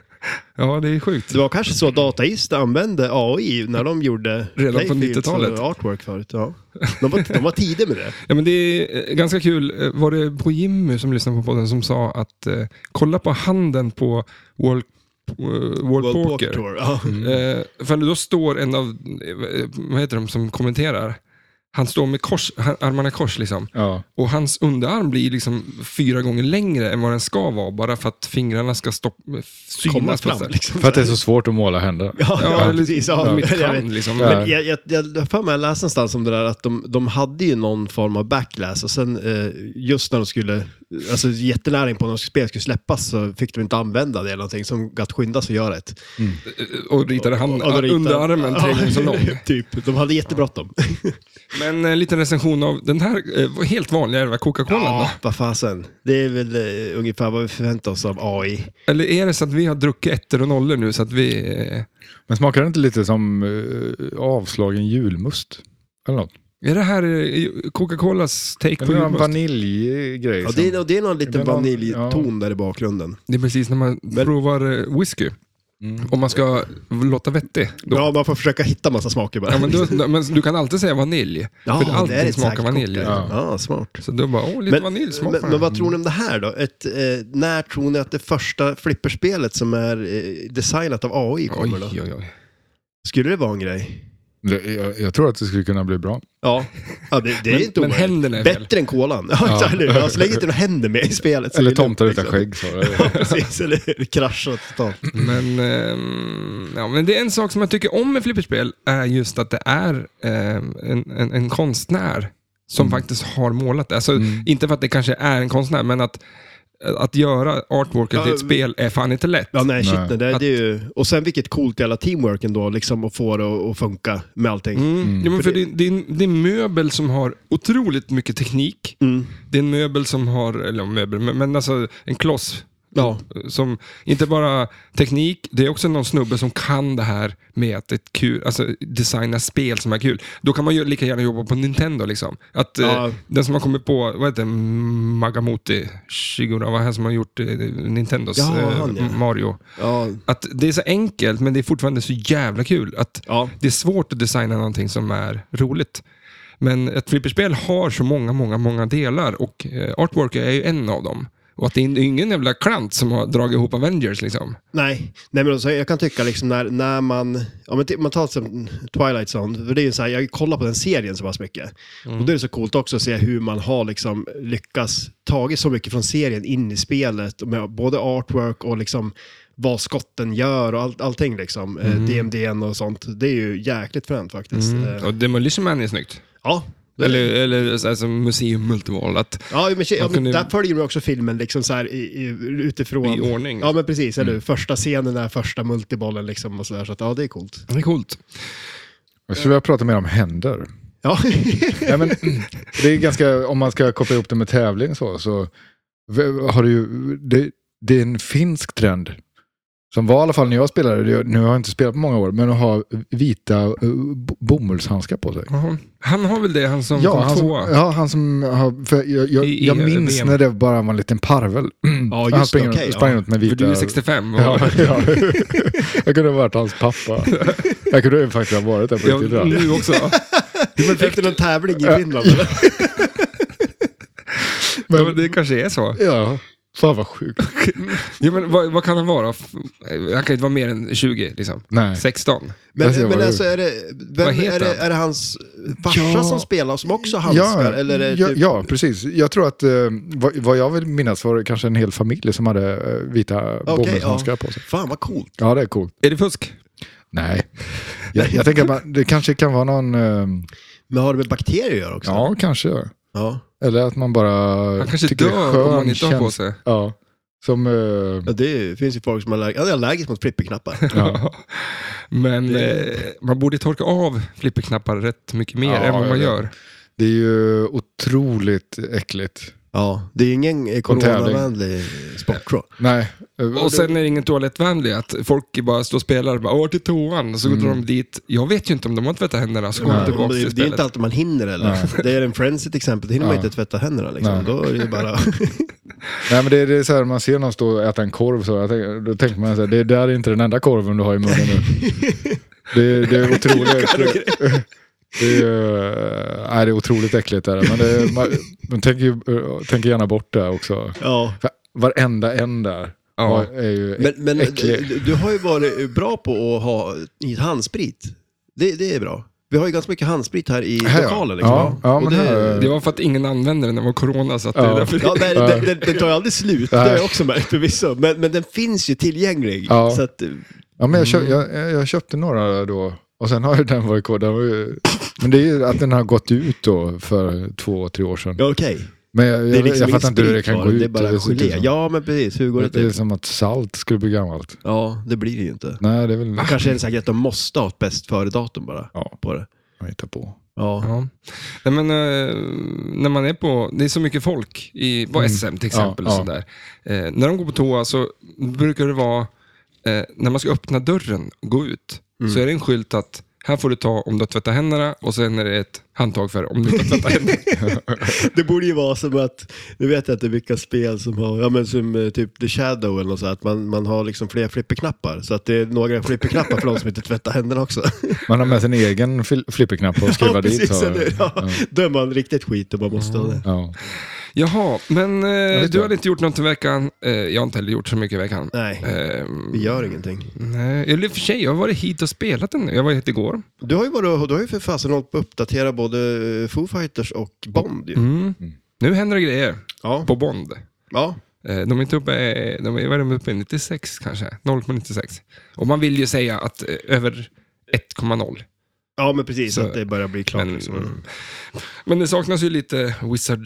A: ja, det är sjukt.
B: Det var kanske så Dataist använde AI när de gjorde
A: Redan på
B: Playfield
A: 90-talet.
B: som artwork förut. Ja. De, var, de var tidiga med det.
A: Ja, men det är eh, ganska kul. Eh, Var det på Jimmy som lyssnade på podden som sa att eh, kolla på handen på World, eh, World, Poker.
B: Tour. Ja.
A: Eh, för då står en av, eh, vad heter de som kommenterar? Han står med kors, han- armarna i kors liksom.
C: Ja.
A: Och hans underarm blir liksom fyra gånger längre än vad den ska vara, bara för att fingrarna ska stopp-
B: Komma
A: synas. på ett
B: fram
A: sätt.
B: liksom.
C: För att det är så svårt att måla händer.
B: Ja, ja, precis. Ja,
A: mitt
B: jag vet.
A: hand, liksom.
C: Ja.
B: Men jag, jag, jag, jag har för mig jag läste någonstans om det där att de, de hade ju någon form av backlash och sen eh, just när de skulle alltså, jättenära in på när spelet skulle släppas så fick de inte använda det eller någonting. Som att skynda sig göra ett.
A: Och ritade han
B: Och då ritade-
A: underarmen tre
B: Ja,
A: gånger så lång.
B: typ, de hade jättebråttom.
A: Men en liten recension av den här eh, helt vanliga jävla Coca-Cola.
B: Ja, vad fasen. Det är väl eh, ungefär vad vi förväntar oss av AI.
A: då? Eller är det så att vi har druckit ettor och nollor nu så att vi... eh,
C: Men smakar det inte lite som eh, avslagen julmust? Eller något?
A: Är det här eh, Coca-Colas take på
C: Eller någon
A: julmust?
C: vaniljgrej.
B: Ja,
C: som-
B: det, är, och det är någon
C: Det
B: liten
C: är någon-
B: vaniljton där i bakgrunden.
A: Det är precis när man provar eh, whisky.
B: Mm.
A: Om man ska låta vettig. Då.
B: Ja, man får försöka hitta massa smaker bara.
A: Ja, men, då, men du kan alltid säga vanilj.
B: Ja,
A: för allting
B: det är ett
A: smakar
B: sagt
A: vanilj.
B: cocktail. Ja, smart.
A: Så då bara, åh, lite vanilj smakar
B: men, men vad tror ni om det här då? Ett, eh, när tror ni att det första flipperspelet som är eh, designat av AI kommer då?
A: Oj, oj, oj.
B: Skulle det vara en grej?
C: Det- Jag, jag tror att det skulle kunna bli bra.
B: Ja, ja det, det är
A: Men,
B: inte
A: men
B: omöjligt.
A: händerna är fel.
B: Bättre än kolan. Ja,
C: Ja.
B: ja. Eller, hur? ja, så länge inte något händer med i spelet. så är
C: Eller
B: det lugnt,
C: tomtar
B: liksom.
C: utan skägg. Så. det-
B: Ja, precis. Eller kraschat totalt.
A: Men, ehm, ja, men det är en sak som jag tycker om med flipperspel är just att det är ehm, en, en, en konstnär som
B: Mm.
A: faktiskt har målat det. Alltså, Inte för att det kanske är en konstnär, men att, att göra artworken till ett
B: Ja,
A: spel är fan inte lätt.
B: Ja, nej, shit, nej.
C: Nej.
B: Det, det är ju... Och sen vilket coolt jävla teamwork ändå, liksom att få det att, att funka med allting.
A: Mm. Ja, men för det, det, är en, det är en möbel som har otroligt mycket teknik.
B: Mm.
A: Det är en möbel som har, eller möbel, men, men alltså en kloss.
B: Ja.
A: Som inte bara teknik, det är också någon snubbe som kan det här med att ett kul, alltså designa spel som är kul. Då kan man ju lika gärna jobba på Nintendo. liksom. Att
B: Ja.
A: eh, Den som har kommit på, vad heter det, Magamoti Shigura, vad är han som har gjort eh, Nintendos
B: Ja,
A: eh,
B: han, ja.
A: Mario.
B: Ja.
A: Att det är så enkelt, men det är fortfarande så jävla kul. Att
B: Ja.
A: det är svårt att designa någonting som är roligt. Men ett flipperspel har så många, många, många delar och eh, artwork är ju en av dem. Och att det är ingen jävla klant som har dragit ihop Avengers liksom.
B: Nej, nej men alltså, jag kan tycka liksom när, när man, om man, t- man tar som Twilight Zone, för det är ju så här, jag kollar på den serien så pass mycket. Och då är det så coolt också att se hur man har liksom lyckats tagit så mycket från serien in i spelet, med både artwork och liksom vad skotten gör och all, allting liksom. Mm. DMDN och sånt. Det är ju jäkligt fränt faktiskt. Eh,
A: Och Demolition Man är snyggt.
B: Ja.
A: Eller, eller så här som Museum Multival, att
B: Ja, men, shit, ja,
A: Man
B: men
A: kunde-
B: där följer man också filmen liksom så här i, i, utifrån.
A: i ordning.
B: Ja, men precis. Eller hur? Första scenen är första multibollen liksom och sådär. Så att, ja, det är coolt.
A: Det är coolt.
C: Jag skulle vilja prata mer om händer.
B: Mm. Ja,
C: Nej, men, det är ganska, om man ska koppla ihop det med tävling så, så v- har det ju, det, det är en finsk trend. Som var i alla fall när jag spelade, det- nu har jag inte spelat på många år, men att ha vita eh, bo- bomullshandskar på sig.
A: Jaha. Han har väl det, han som
C: Ja,
A: kom
C: han som,
A: tvåa.
C: ja, han som har, för jag, jag,
A: I- i
C: jag minns
A: VM.
C: när det bara var en liten parvel.
B: ja
C: han
B: just det.
C: springer,
B: Okej.
C: sprang
B: ja.
C: runt med
A: För
C: vita...
A: du är 65. Och,
C: Ja, ja. Jag kunde ha varit hans pappa. Jag kunde ju faktiskt ha varit det på
A: Ja,
C: riktigt. tror jag.
A: nu också.
B: Efter någon tävling i Finland. eller?
A: Ja, men det kanske är så.
C: Ja, fan vad sjukt.
A: Ja, men vad, vad kan han vara? F- Han kan inte vara mer än 20, liksom.
C: Nej.
A: 16.
B: Men,
C: Jag ser vad
B: men
C: du-
B: alltså, är det, vem,
A: Vad heter
B: är, det,
A: han?
B: är det hans farsa
C: Ja.
B: som spelar som också har handskar? eller är det
C: ja,
B: typ,
C: ja, precis. Jag tror att eh, vad, vad jag vill minnas var det kanske en hel familj som hade eh, vita bomullshandskar
B: ja.
C: på sig.
B: Fan vad coolt.
C: Ja, det är coolt.
A: Är det fusk?
C: Nej, jag, jag tänker att man- det kanske kan vara någon... eh,
B: Men har det med bakterier att göra också?
C: ja, kanske.
B: Ja.
C: Eller att man bara
A: Han kanske
C: tycker det är
A: dör om han
C: skön
A: inte har på
C: känsla.
A: sig.
C: Ja, som... eh,
B: Ja, det finns ju folk som är allerg- ja, det är allergisk mot flipperknappar.
C: ja.
A: Men
B: Det-
A: eh, man borde torka av flipperknappar rätt mycket mer
C: Ja,
A: än vad
C: jag
A: man
C: vet.
A: gör.
C: Det är ju otroligt äckligt.
B: Ja, det är ju ingen eh, coronavänlig sport tror jag.
C: Nej. eh,
A: Och sen är det ingen toalettvänlig, att folk bara står och spelar och bara åh till toan, så går de dit. Jag vet ju inte om de har tvättat händerna, så går de
C: Nej.
B: Mm. Men
A: tillbaka
B: Det,
A: till
B: det är ju
A: spelet.
B: inte alltid man hinner
C: Nej.
B: eller. Det är en frenzy till exempel, då hinner man
C: Ja.
B: inte tvätta händerna liksom.
C: Nej.
B: Då är det ju bara...
C: Nej men det är, det är så här, man ser någon stå och äta en korv så, jag tänker, då tänker man så här, det där är inte den enda korven du har i munnen nu. Det, det är otroligt. Det är, eh, nej, det är otroligt äckligt där. Men det, man, man tänker, ju, eh, tänker gärna bort det också.
B: ja.
C: För Varenda en där
A: Ja.
C: var- är ju
B: Men, men
C: äcklig.
B: du, du har ju varit bra på att ha i handsprit. Det, det är bra. Vi har ju ganska mycket handsprit här i
C: Här, ja.
B: lokalen. Liksom.
C: Ja, ja,
B: Och
C: men
B: det,
C: här-
A: Det var för att ingen använde den när det var corona, så att det
C: Ja.
A: är därför
B: Ja, nej, den, den, den tar ju aldrig slut, det har jag också märkt förvisso. Men, men den finns ju tillgänglig.
C: Ja.
B: Så att, eh,
C: Ja, men jag, köp, jag, jag köpte några då. Och sen har ju den varit kvar. Den var ju, men det är ju att den har gått ut då för två, tre år sedan.
B: ja, okej.
C: Men jag,
B: Det är
C: jag,
B: liksom
C: jag
B: ingen
C: fattar inte hur det
B: sprit
C: kan
B: kvar,
C: gå ut.
B: det är bara
C: ser inte
B: gelé.
C: som-
B: Ja, men precis. Hur går det typ?
C: det är
B: till?
C: som att salt skulle bli gammalt.
B: Ja, det blir det ju inte.
C: Nej, det är väl...
B: Kanske är det säkert att de måste ha ett bäst före-datum bara
C: Ja,
B: på det.
C: jag hittar på.
B: Ja.
A: Ja. Nej, men, eh, när man är på, det är så mycket folk i, på
C: Mm.
A: SM till exempel.
C: Ja,
A: och
C: ja.
A: sådär. Eh, när de går på toa så brukar det vara, eh, när man ska öppna dörren och gå ut,
C: Mm.
A: så är det en skylt att här får du ta om du har tvättat händerna och sen är det ett handtag för om du inte har tvättat händerna.
B: Det borde ju vara som att, nu vet jag inte vilka spel som har, ja men som eh, typ The Shadow eller något så här, att man, man har liksom fler flipperknappar. Så att det är några flipperknappar för de som inte tvättar händerna också.
C: Man har med sin egen fil- flipperknapp och skruvar
B: ja,
C: dit.
B: precis.
C: Så,
B: eller hur? Ja. Då är man riktigt skit om man måste ha det.
A: Mm.
C: ja.
A: Jaha, men eh,
C: vet
A: du
C: det.
A: har inte gjort något i veckan. Eh, jag har inte heller gjort så mycket i veckan.
B: Nej,
A: Eh,
B: vi gör ingenting.
A: nej. Eller i och för sig, jag har varit hit och spelat den. Jag var hit igår.
B: Du har ju, varit, du har ju för fasen hållit på att uppdatera både eh, Foo Fighters och Bond ju.
A: Mm. Nu händer det grejer
B: Ja.
A: på Bond.
B: ja.
A: Eh, De är inte uppe, eh, de är, vad är de uppe i 96 kanske, 0,96. Och man vill ju säga att eh, över 1,0.
B: Ja, men precis.
A: Så-
B: att det börjar bli klart.
A: Men,
B: liksom.
A: mm. men det saknas ju lite wizard,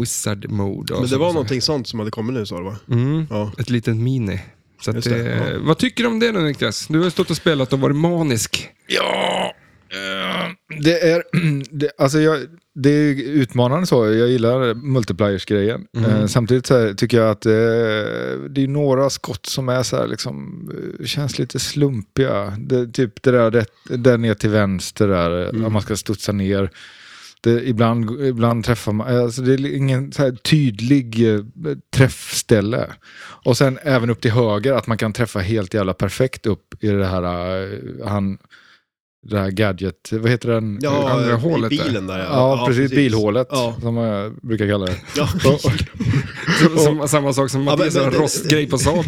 A: wizard mode. och
B: men det
A: sånt
B: var
A: och så.
B: någonting sånt som hade kommit nu sa du va?
A: Mm,
B: Ja.
A: ett litet mini. Så att
B: Just
A: det,
B: det, ja.
A: Vad tycker du om det nu Niklas? Du har ju stått och spelat och varit manisk.
C: Ja, eh, det är, det, alltså jag, det är utmanande så. Jag gillar multipliers-grejen.
B: Mm.
C: Eh, samtidigt så här, tycker jag att eh, det är några skott som är så här, liksom, eh, känns lite slumpiga. Det, typ det där, det, där ner till vänster där, mm. man ska studsa ner. Det, ibland, ibland träffar man, alltså det är ingen så här tydlig eh, träffställe. Och sen även upp till höger, att man kan träffa helt jävla perfekt upp i det här, eh, han, det här gadget, vad heter den?
A: Det
B: Ja,
A: andra
B: i
A: hålet där.
B: bilen där.
C: Ja, precis, bilhålet
B: Ja.
C: som jag brukar kalla det.
B: Ja.
A: Som, som, samma sak som
B: men-
A: Mattias har en
B: men-
A: rostgrej på Saab.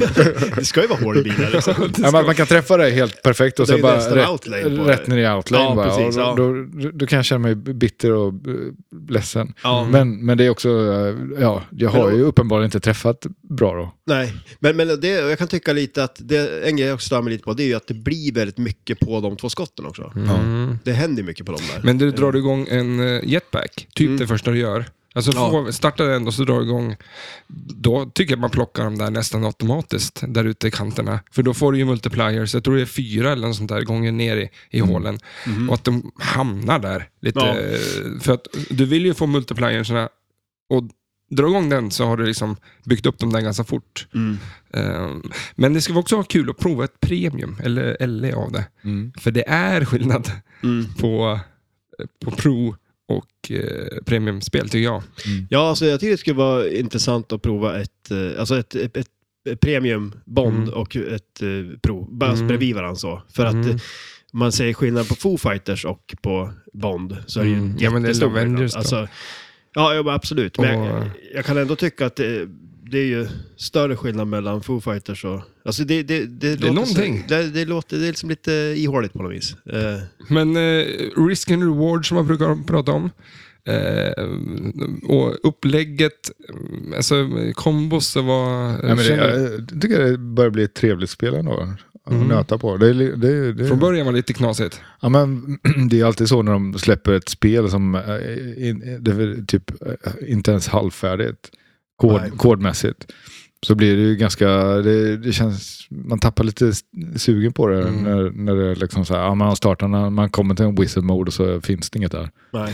B: Det ska ju vara hål i bilar. Liksom.
C: Ja, men att man kan träffa det helt perfekt och
B: Det är
C: så
B: ju
C: bara
B: nästan
C: rätt,
B: outlane på
C: rätt
B: det.
C: ner i outlane.
B: Ja,
C: bara.
B: precis,
C: och
B: ja.
C: då, då, då kan jag känna mig bitter och eh, ledsen.
B: Ja.
C: Men, men det är också, eh, ja, jag har
B: Men-
C: ju uppenbarligen inte träffat bra då.
B: Nej, men, men det, jag kan tycka lite att det, en grej jag också stör mig lite på det är ju att det blir väldigt mycket på de två skotten också.
A: Mm.
B: Det händer mycket på de där.
A: Men du drar igång en eh, jetpack, typ det första du gör. Alltså
B: Mm. Ja.
A: få, starta den och så drar du igång. Då tycker jag man plockar dem där nästan automatiskt, där ute i kanterna. För då får du ju multipliers, jag tror det är fyra eller något sånt där gånger ner i, i hålen. Och att de hamnar där lite.
B: Mm. Ja.
A: eh, För att du vill ju få multiplierserna och dra igång den så har du liksom byggt upp dem där ganska fort.
B: Mm.
A: Ehm, Men det ska också vara kul att prova ett premium, eller LE av det. För det är skillnad
B: Mm.
A: på, på Pro och eh, Premium-spel tycker jag.
B: Ja, alltså, jag tycker det skulle vara intressant att prova ett, eh, alltså ett, ett, ett premium Bond
A: Mm.
B: och ett eh, Pro, bara
A: Mm.
B: bredvid varandra så. För att
A: Mm.
B: eh, man säger skillnad på Foo Fighters och på Bond så är det ju
A: Mm.
B: en
A: Ja, men det är
B: jättestor
A: Love Avengers
B: skillnad.
A: då.
B: Alltså, ja, ja, men absolut. Men
A: Och- eh,
B: jag, jag kan ändå tycka att det, det är ju större skillnad mellan Foo Fighters och... Alltså det, det, det, låter så-
A: någonting.
B: det, det låter, det är liksom lite ihåligt på något vis. Eh,
A: Men eh, risk and reward som man brukar prata om. Eh, och upplägget, eh, alltså kombos så var... eh,
C: Nej, men det,
A: känner-
C: jag tycker det börjar bli ett trevligt spel ändå. Att nöta på. Det, är li- det, det,
A: Från början var det lite knasigt.
C: Ja, men, det är alltid så när de släpper ett spel som eh, in, det är väl typ eh, inte ens halvfärdigt kod,
B: Nej.
C: kodmässigt. Så blir det ju ganska, det, det känns, man tappar lite s- sugen på det
A: Mm.
C: när, när det är liksom så här, ja, man startar, när man kommer till en wizard mode och så finns det inget där.
B: Nej,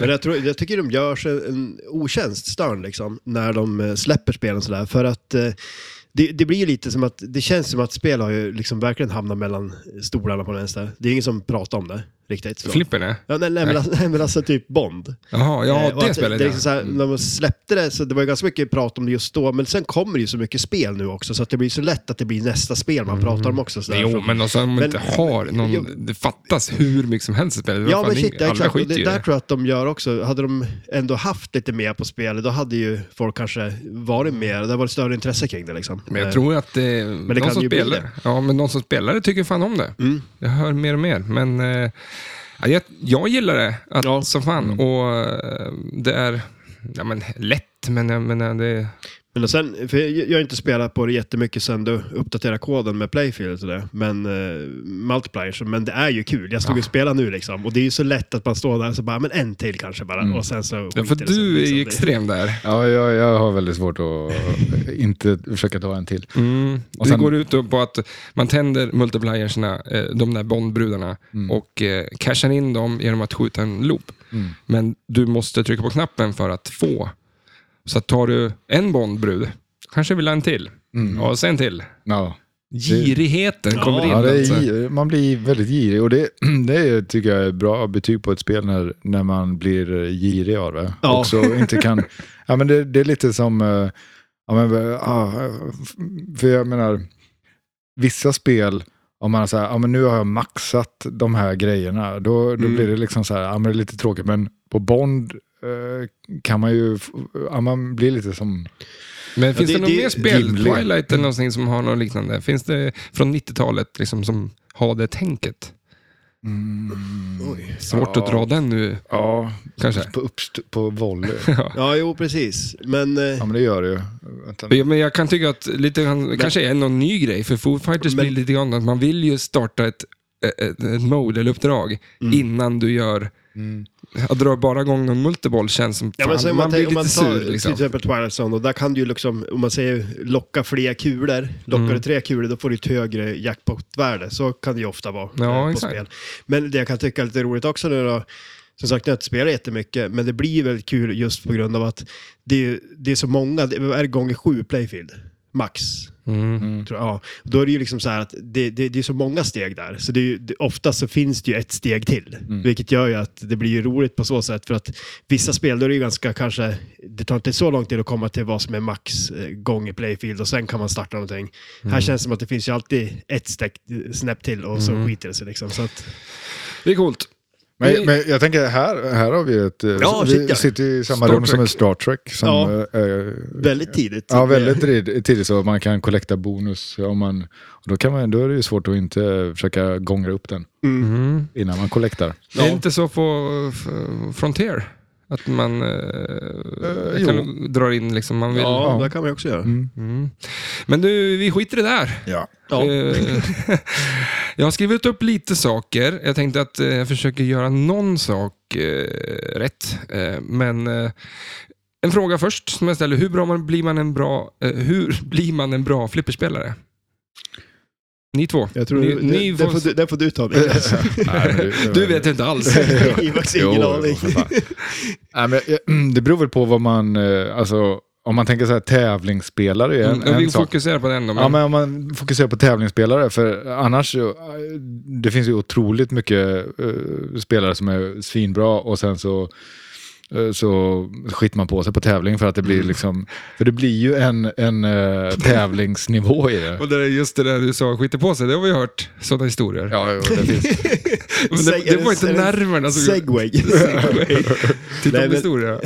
B: men jag, tror, jag tycker de gör sig en otjänst, Stern, liksom, när de eh, släpper spelen sådär. För att eh, det, det blir ju lite som att, det känns som att spel har ju liksom verkligen hamnat mellan stolarna på den vänster. Det är ingen som pratar om det riktigt. Så.
A: Flippen är.
B: Ja, nej, nej, men, alltså, nej, men alltså typ Bond.
A: Jaha, ja
B: Eh, och
A: det
B: att
A: spelet
B: det är
A: ja.
B: liksom så här, När man släppte det så det var ju ganska mycket prat om det just då, men sen kommer det ju så mycket spel nu också så att det blir så lätt att det blir nästa spel man pratar om också. Sådär,
A: Mm. Jo,
B: Från-
A: men alltså, om man
B: Men-
A: inte har någon,
B: Jo.
A: det fattas hur mycket som helst i spelet.
B: Ja,
A: Fan,
B: men
A: det-
B: shit, ja,
A: alla
B: exakt. Och
A: skiter ju
B: det
A: i
B: där tror jag att de gör också. Hade de ändå haft lite mer på spelet, då hade ju folk kanske varit mer, det hade varit större intresse kring det liksom.
A: Men
B: Eh,
A: jag tror att eh,
B: det
A: någon
B: kan
A: som
B: ju bli
A: spelar,
B: det.
A: Ja, men någon som spelar det tycker fan om det.
B: Mm.
A: Jag hör mer och mer. Men eh, ja, jag, jag gillar det att,
B: Mm.
A: som fan. Och eh, det är ja, men, lätt, men, jag menar, det,
B: Men och sen, för jag, jag har inte spelat på det jättemycket sen du uppdaterade koden med Playfield och sådär. Men eh, multiplier, så- men det är ju kul. Jag stod
C: Ja.
A: Ah.
B: och spelade nu liksom. Och det är ju så lätt att man står där och så bara, men en till kanske bara.
C: Mm.
B: Och sen så...
A: Ja, för
B: skiter det sig,
A: du är
B: liksom.
A: ju
B: Det-
A: extrem där.
C: Ja, jag, jag har väldigt svårt att inte försöka ta en till.
A: Mm.
C: Och sen-
A: Det går ut på att man tänder multiplierserna, eh, de där Bondbrudarna,
C: Mm.
A: och eh, cashar in dem genom att skjuta en loop. Men du måste trycka på knappen för att få. Så att tar du en Bondbrud, kanske vill ha en till. Och sen till.
C: Ja.
A: Girigheten kommer in.
C: Mm. Ja, det är,
A: alltså.
C: gi- man blir väldigt girig och det, det är, tycker jag är bra betyg på ett spel när, när man blir girig av det.
B: Ja.
C: Och så inte kan, ja, men det, det är lite som, eh, ja, men, eh, ah, för jag menar, vissa spel, om man säger, ja men nu har jag maxat de här grejerna, då, då
A: Mm.
C: blir det liksom så här, ja men det är lite tråkigt, men på Bond eh, kan man ju, f- ja man blir lite som,
A: Men finns
B: det-
A: det, något
B: det är
A: mer spel,
C: rimligt.
A: Twilight eller någonting som har något liknande? Finns det från 90-talet liksom, som har det tänket?
B: liksom. Oj.
A: Svårt
C: Ja.
A: att dra den nu
C: ja,
A: kanske.
C: på, uppst- på volley.
B: Ja, jo precis. Men... eh,
C: Ja men det gör det ju. Vänta nu.
A: Ja, men jag kan tycka att lite grann, kanske är någon ny grej för Foo Fighters
B: Men-
A: blir lite grann att man vill ju starta ett, ett, ett mode eller uppdrag
B: Mm.
A: innan du gör... Att dra bara igång någon multiboll känns som...
B: Ja,
A: fan,
B: men så om
A: man,
B: man,
A: blir
B: tänker- om
A: lite
B: man tar typ-
A: sur liksom.
B: till exempel Twilight Zone, och där kan du ju liksom, om man säger locka fler kulor, lockar
A: Mm.
B: du tre kulor då får du ett högre jackpotvärde. Så kan det ju ofta vara
A: Ja,
B: eh, på
A: exakt.
B: spel. Men det jag kan tycka är lite roligt också nu då, som sagt, jag har inte spelat jättemycket, men det blir ju väldigt kul just på grund av att det är, ju- det är så många, det är gånger sju playfield, max.
A: Mm.
B: Tror jag. Ja. Då är det ju liksom så här att det, det, det är så många steg där, så det är ju, det, oftast så finns det ju ett steg till.
A: Mm.
B: Vilket gör ju att det blir ju roligt på så sätt, för att vissa spel då är det ju ganska kanske, det tar inte så lång tid att komma till vad som är max eh, gång i playfield och sen kan man starta någonting.
A: Mm.
B: Här känns det som att det finns ju alltid ett steg, snäpp till och så
A: Mm.
B: skiter det sig liksom. Så att,
A: Det är coolt.
C: Men, men jag tänker här, här har vi ett... eh,
B: Ja,
C: vi
B: shit, ja.
C: sitter i samma
A: Star
C: rum som
A: Trek.
C: en Star Trek. Som,
B: Ja.
C: eh, eh,
B: väldigt tidigt.
C: ja, väldigt tid- tidigt så man kan kollekta bonus. Om man, och då, kan man, då är det ju svårt att inte försöka gångra upp den
A: Mm.
C: innan man kollektar.
A: Det är inte så på eh, Frontier? Att man eh, kan dra in liksom man vill.
B: Eh, Ja, det kan man ju också göra.
A: Mm. Men du, vi skiter i det där.
C: Ja.
B: Ja.
A: Eh, jag har skrivit upp lite saker. Jag tänkte att eh, jag försöker göra någon sak eh, rätt. Eh, men eh, en fråga först som jag ställer. Hur, bra man, blir, man en bra, eh, hur blir man en bra flipperspelare? Ni två.
B: Jag tror
A: ni,
B: det,
A: ni
B: det, får
A: får,
B: du, det får du ta med.
C: Nej, men
A: du vet inte alls.
B: Ivax ingen
C: Jo,
B: aning.
C: för fan. Nej, men, eh, det beror väl på vad man... eh, Alltså, om man tänker så här tävlingsspelare är en,
A: Mm, vi
C: en sak.
A: fokuserar på den då.
C: Ja, men om man fokuserar på tävlingsspelare, för annars så, eh, det finns ju otroligt mycket eh, spelare som är svinbra och sen så eh, så skiter man på sig på tävling för att det blir liksom, för det blir ju en, en eh, tävlingsnivå i det.
A: Och det är just det där du sa, skiter på sig, det har vi hört sådana historier.
C: Ja, jo, det finns.
A: Men det, det var inte nerverna som
B: Segway.
A: Titta på
B: Nej, men-
A: historia.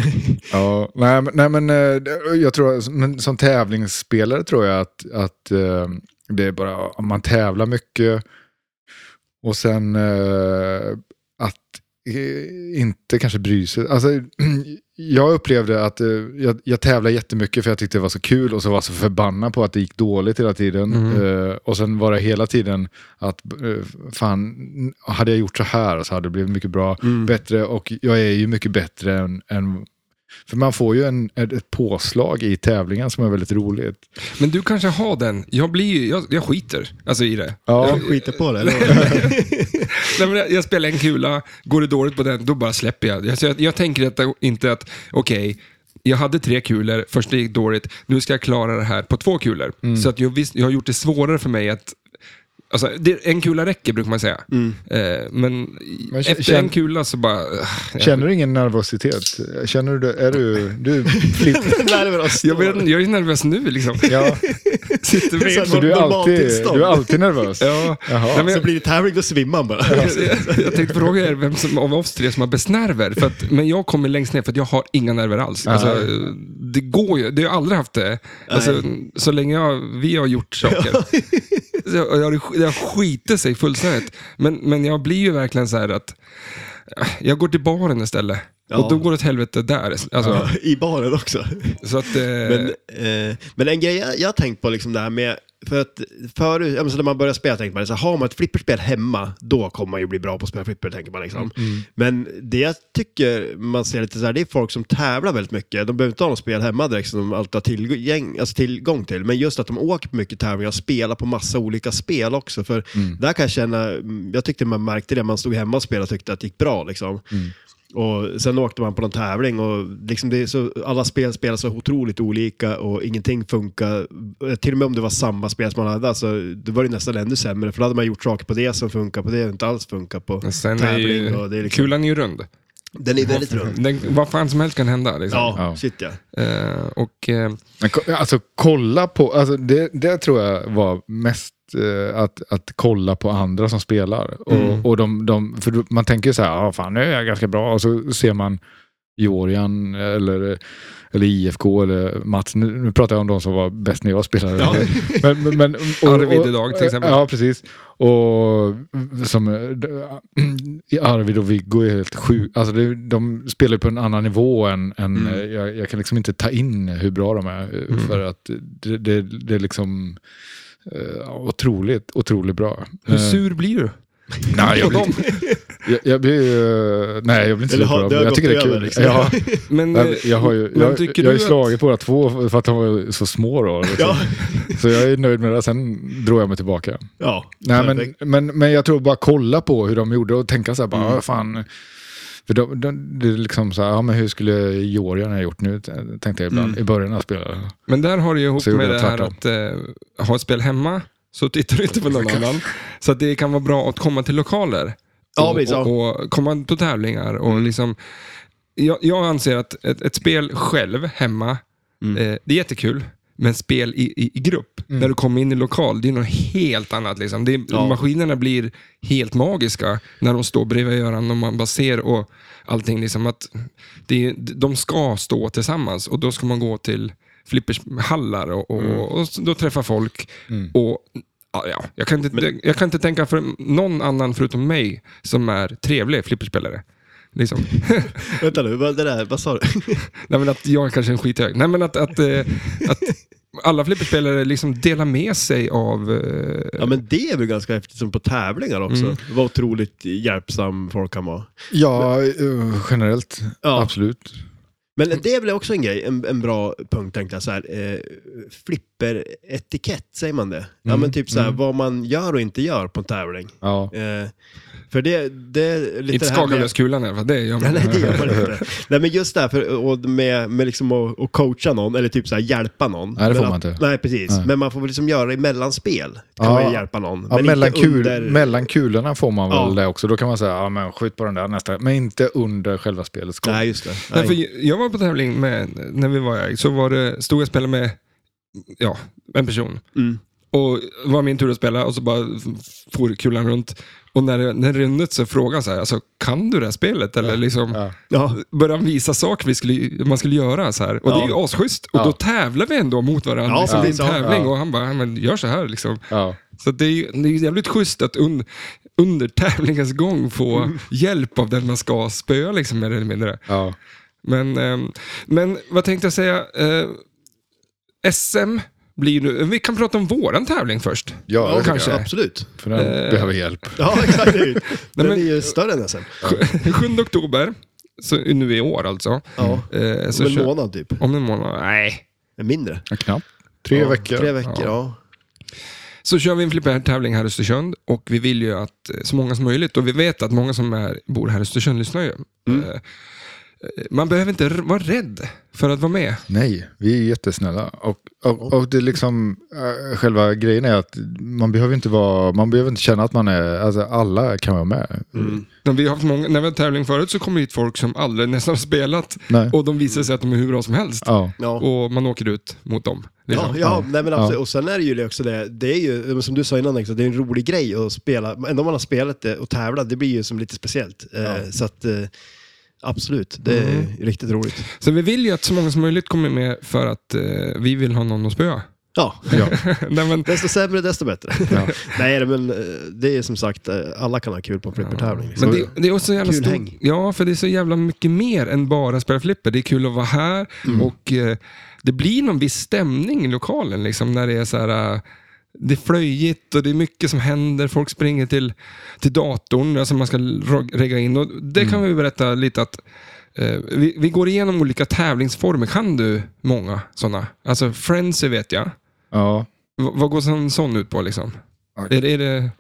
C: Ja, nej, men- nej men eh, det- jag tror, men som tävlingsspelare tror jag att, att eh, det är bara, om man tävlar mycket och sen eh, att eh, inte kanske bry sig. Alltså, jag upplevde att eh, jag, jag tävlade jättemycket för jag tyckte det var så kul och så var jag så förbannad på att det gick dåligt hela tiden. Eh, och sen var det hela tiden att eh, fan, hade jag gjort så här så hade det blivit mycket bra, bättre och jag är ju mycket bättre än, än för man får ju en, ett ett påslag i tävlingen som är väldigt roligt.
A: Men du kanske har den. Jag, blir, ju- jag, jag skiter alltså, i det.
C: Ja,
B: Jag skiter på det. eller?
A: Nej, men jag, jag spelar en kula, går det dåligt på den, då bara släpper jag. Jag, jag, jag tänker att, inte att, okej, jag hade tre kulor, första gick dåligt, nu ska jag klara det här på två kulor. Så att jag, visst, jag har gjort det svårare för mig att Alltså, det, en kula räcker brukar man säga. Eh, men
C: Men k-
A: efter
C: känn-
A: en kula så bara... ah, jag-
C: känner du ingen nervositet? Känner du, det? är du, du flipp,
B: Lär väl oss.
A: Jag, vet, inte, jag är nervös nu liksom.
C: ja,
A: Sitter med.
C: så du är alltid, du är alltid nervös?
A: Ja.
C: Jaha.
A: Nej, men
B: Så blir det tävling, då svimmar man bara. Alltså.
A: jag, jag tänkte fråga er vem som, av oss tre som har bäst nerver. För att, men jag kommer längst ner för att jag har inga nerver alls. Alltså, det går ju, det har jag aldrig haft det. Alltså, så länge jag, vi har gjort saker. Så Jag, jag, har- jag skiter sig fullständigt. Men, men jag blir ju verkligen så här att jag går till baren istället. Och då går det åt helvete där. Alltså,
B: Ja, I baren också.
A: Så att... Eh,
B: Men, eh, men en grej jag, jag har tänkt på liksom det här med, för att förut, ja, men så när man börjar spela tänker man så här, har man ett flipperspel hemma, då kommer man ju bli bra på att spela flipper, tänker man liksom. Men det jag tycker man ser lite så här, det är folk som tävlar väldigt mycket. De behöver inte ha något spel hemma direkt som de alltid har tillgång, alltså tillgång till, men just att de åker på mycket tävlingar och spelar på massa olika spel också. För där kan jag känna, jag tyckte man märkte det, man stod hemma och spelade och tyckte att det gick bra liksom. Och sen åkte man på någon tävling och liksom det är så, alla spel spelas så otroligt olika och ingenting funkar. Till och med om det var samma spel som man hade, alltså, då var det nästan ännu sämre. För då hade man gjort saker på det som funkar på det och inte alls funkar på
A: men sen är
B: tävling.
A: ju,
B: och det är liksom,
A: Kulan är ju rund.
B: Den är väldigt rund.
A: Den, vad fan som helst kan hända. Liksom.
B: Ja,
C: Ja.
B: shit ja.
A: Eh, och, eh,
C: Men, ko- alltså kolla på, alltså, det, det tror jag var mest eh, att, att kolla på andra som spelar. Och,
A: Mm.
C: och de, de, för du- man tänker ju så här, ah, fan nu är jag ganska bra. Och så ser man Georgian eller, eller IFK eller Mats. Nu, nu pratar jag om de som var bäst när jag spelade.
B: Ja.
C: Men, men, men,
A: Arvid idag, till exempel.
C: Ja, precis. Och som eh, d- Arvid och Viggo är helt sjuka. Alltså det, de spelar ju på en annan nivå än, än
B: Mm.
C: eh, jag, jag kan liksom inte ta in hur bra de är. eh, För att det, det, det är liksom eh, otroligt, otroligt bra.
A: hur
C: Eh,
A: sur blir du?
C: nej, jag
A: på
C: blir,
A: dem?
C: jag, jag blir ju... Nej, jag blir inte
B: Eller
C: sur
B: har-
C: på dem.
B: det har
C: Jag
B: gått
C: tycker det är
B: över,
C: kul.
B: liksom.
C: Ja,
A: Men, eh,
C: jag, jag har ju
A: men
C: jag,
A: tycker
C: jag har
A: du
C: ju
A: att-
C: slagit båda två för att de var så små då. Liksom.
B: Ja,
C: Så jag är nöjd med det. Sen drog jag mig tillbaka.
B: ja.
C: Nej, men,
B: perfekt. Mm.
C: men, men jag tror bara kolla på hur de gjorde och tänka så här, bara, "Ah, fan. För de, de, det är liksom så här, ja, men hur skulle Georgien ha gjort nu, t- tänkte jag
B: Mm.
C: ibland, i början av spelet.
A: Men där har det ju ihop
C: Så gjorde
A: med det
C: jag
A: här att
C: tvärtom.
A: eh, ha ett spel hemma, så tittar du inte på någon annan. Så att det kan vara bra att komma till lokaler.
B: Ja,
A: och,
B: precis, ja.
A: och, och komma på tävlingar. Och
C: Mm.
A: liksom, jag, jag anser att ett, ett spel själv, hemma,
B: Mm.
A: eh, det är jättekul. Men spel i, i, i grupp, när du kommer in i lokal, det är något helt annat. Liksom. Det är,
B: Ja.
A: Maskinerna blir helt magiska när de står bredvid varandra och man bara ser och allting. Liksom att det, är- de ska stå tillsammans och då ska man gå till flippershallar och, och, och, så- då träffa folk. Och, ja, ja, jag, kan inte, jag kan inte tänka för någon annan förutom mig som är trevlig flipperspelare. Liksom.
B: Vänta nu, vad, det där, vad sa du?
A: Nej, men att jag är kanske en skithög. Nej, men att, att, eh, att alla flipperspelare liksom delar med sig av... eh,
B: Ja men det är väl ganska häftigt som på tävlingar också. Vad otroligt hjälpsam folk kan vara.
C: Ja, eh, generellt.
B: Ja.
C: Absolut.
B: Men det är väl också en grej, en, en bra punkt tänkte jag så här. Eh, flipperetikett, säger man det? Ja
C: Mm,
B: men typ så här, vad man gör och inte gör på en tävling.
C: Ja.
B: Eh, för det, det är lite
A: Inte
B: det här med-
A: Skaganlöskulan i alla fall, det gör
B: Nej,
A: man.
B: nej, det gör man inte. Nej, men just därför, och med, med liksom att, att coacha någon, eller typ så här hjälpa någon.
C: Nej, det får
B: men
C: man
B: att,
C: inte.
B: Nej, precis.
C: Nej.
B: Men man får väl liksom göra det i mellanspel. Kan
C: Ja.
B: man ju hjälpa någon.
C: Ja,
B: men
C: mellan,
B: inte
C: kul,
B: under...
C: mellan kulorna får man väl
B: Ja.
C: det också. Då kan man säga, ja, men skjut på den där nästa. Men inte under själva spelets gång.
B: Nej, just det.
A: Nej,
B: Nej.
A: för jag var på tävling med, när vi var i så var det, stod jag och spelade med ja, en person.
B: Mm.
A: Och det var min tur att spela och så bara f- for kulan runt. Och när, det- när det runnit så frågade jag så här, alltså, kan du det här spelet? Eller liksom,
C: Ja.
B: Ja.
A: började han visa saker vi skulle, man skulle göra. Så här. Och det är ju asschysst. Och
C: Ja.
A: då tävlar vi ändå mot varandra.
B: Ja,
A: liksom, det är en
B: precis, ja.
A: tävling
C: Ja.
A: och han bara, "Ja, men gör så här liksom.
C: Ja.
A: Så att det är ju det är ju jävligt schysst att un, under tävlingens gång få hjälp av den man ska spöa, liksom, mer eller mindre.
C: Ja.
A: Men, ehm, men vad tänkte jag säga? Eh, SM blir nu... Vi kan prata om våran tävling först.
C: Ja, det tycker
A: kanske.
C: jag.
B: Absolut.
C: För den
B: Eh.
C: behöver hjälp.
B: Ja, exakt. Den
A: men-
B: är ju större än SM.
A: Sj- 7 oktober, så nu i år alltså.
B: Ja.
A: Eh, så
B: Som en
A: kör-
B: månad typ.
A: om en månad? Nej.
B: Mindre.
C: Ja, Knappt. Tre
B: ja,
C: veckor.
B: Tre veckor, ja.
A: Så kör vi en flippertävling här i Östersund och vi vill ju att eh, så många som möjligt, och vi vet att många som är, bor här i Östersund lyssnar ju.
C: Mm.
A: Eh, eh, Man behöver inte r- vara rädd för att vara med.
C: Nej, vi är jättesnälla. Och, och, och det är liksom, eh, själva grejen är att man behöver inte vara, man behöver inte känna att man är, alltså alla kan vara med.
A: När vi har haft många, när vi har tävling förut så kommer hit folk som aldrig nästan har spelat
C: Nej.
A: och de visar sig att de är hur bra som helst.
C: Ja.
B: Ja.
A: Och man åker ut mot dem.
B: Ja,
A: liksom.
B: ja, nej men absolut.
C: Ja.
B: Och sen är det ju också det, det är ju som du sa innan, Nick, så det är en rolig grej att spela. Ändå om man har spelat det och tävlat, det blir ju som lite speciellt. Eh, Så att, eh, absolut, det är riktigt roligt.
A: Så vi vill ju att så många som möjligt kommer med för att eh, vi vill ha någon att spöa.
B: Ja,
C: Ja,
A: Nej, men,
B: desto sämre desto bättre.
C: ja.
B: Nej, men eh, det är som sagt, eh, alla kan ha kul på en flippertävling. Liksom.
A: men det, det är också så jävla
B: Kul
A: stor-
B: häng.
A: Ja, för det är så jävla mycket mer än bara spela flipper. Det är kul att vara här och eh, det blir någon viss stämning i lokalen liksom, när det är så här... eh, det är flöjigt och det är mycket som händer. Folk springer till, till datorn som alltså man ska ro- regga in. Och det kan vi berätta lite att eh, vi, vi går igenom olika tävlingsformer. Kan du många sådana? Alltså Frenzy vet jag.
C: ja.
A: V- vad går en sån ut på liksom?
C: Ja.
A: Är, är, det,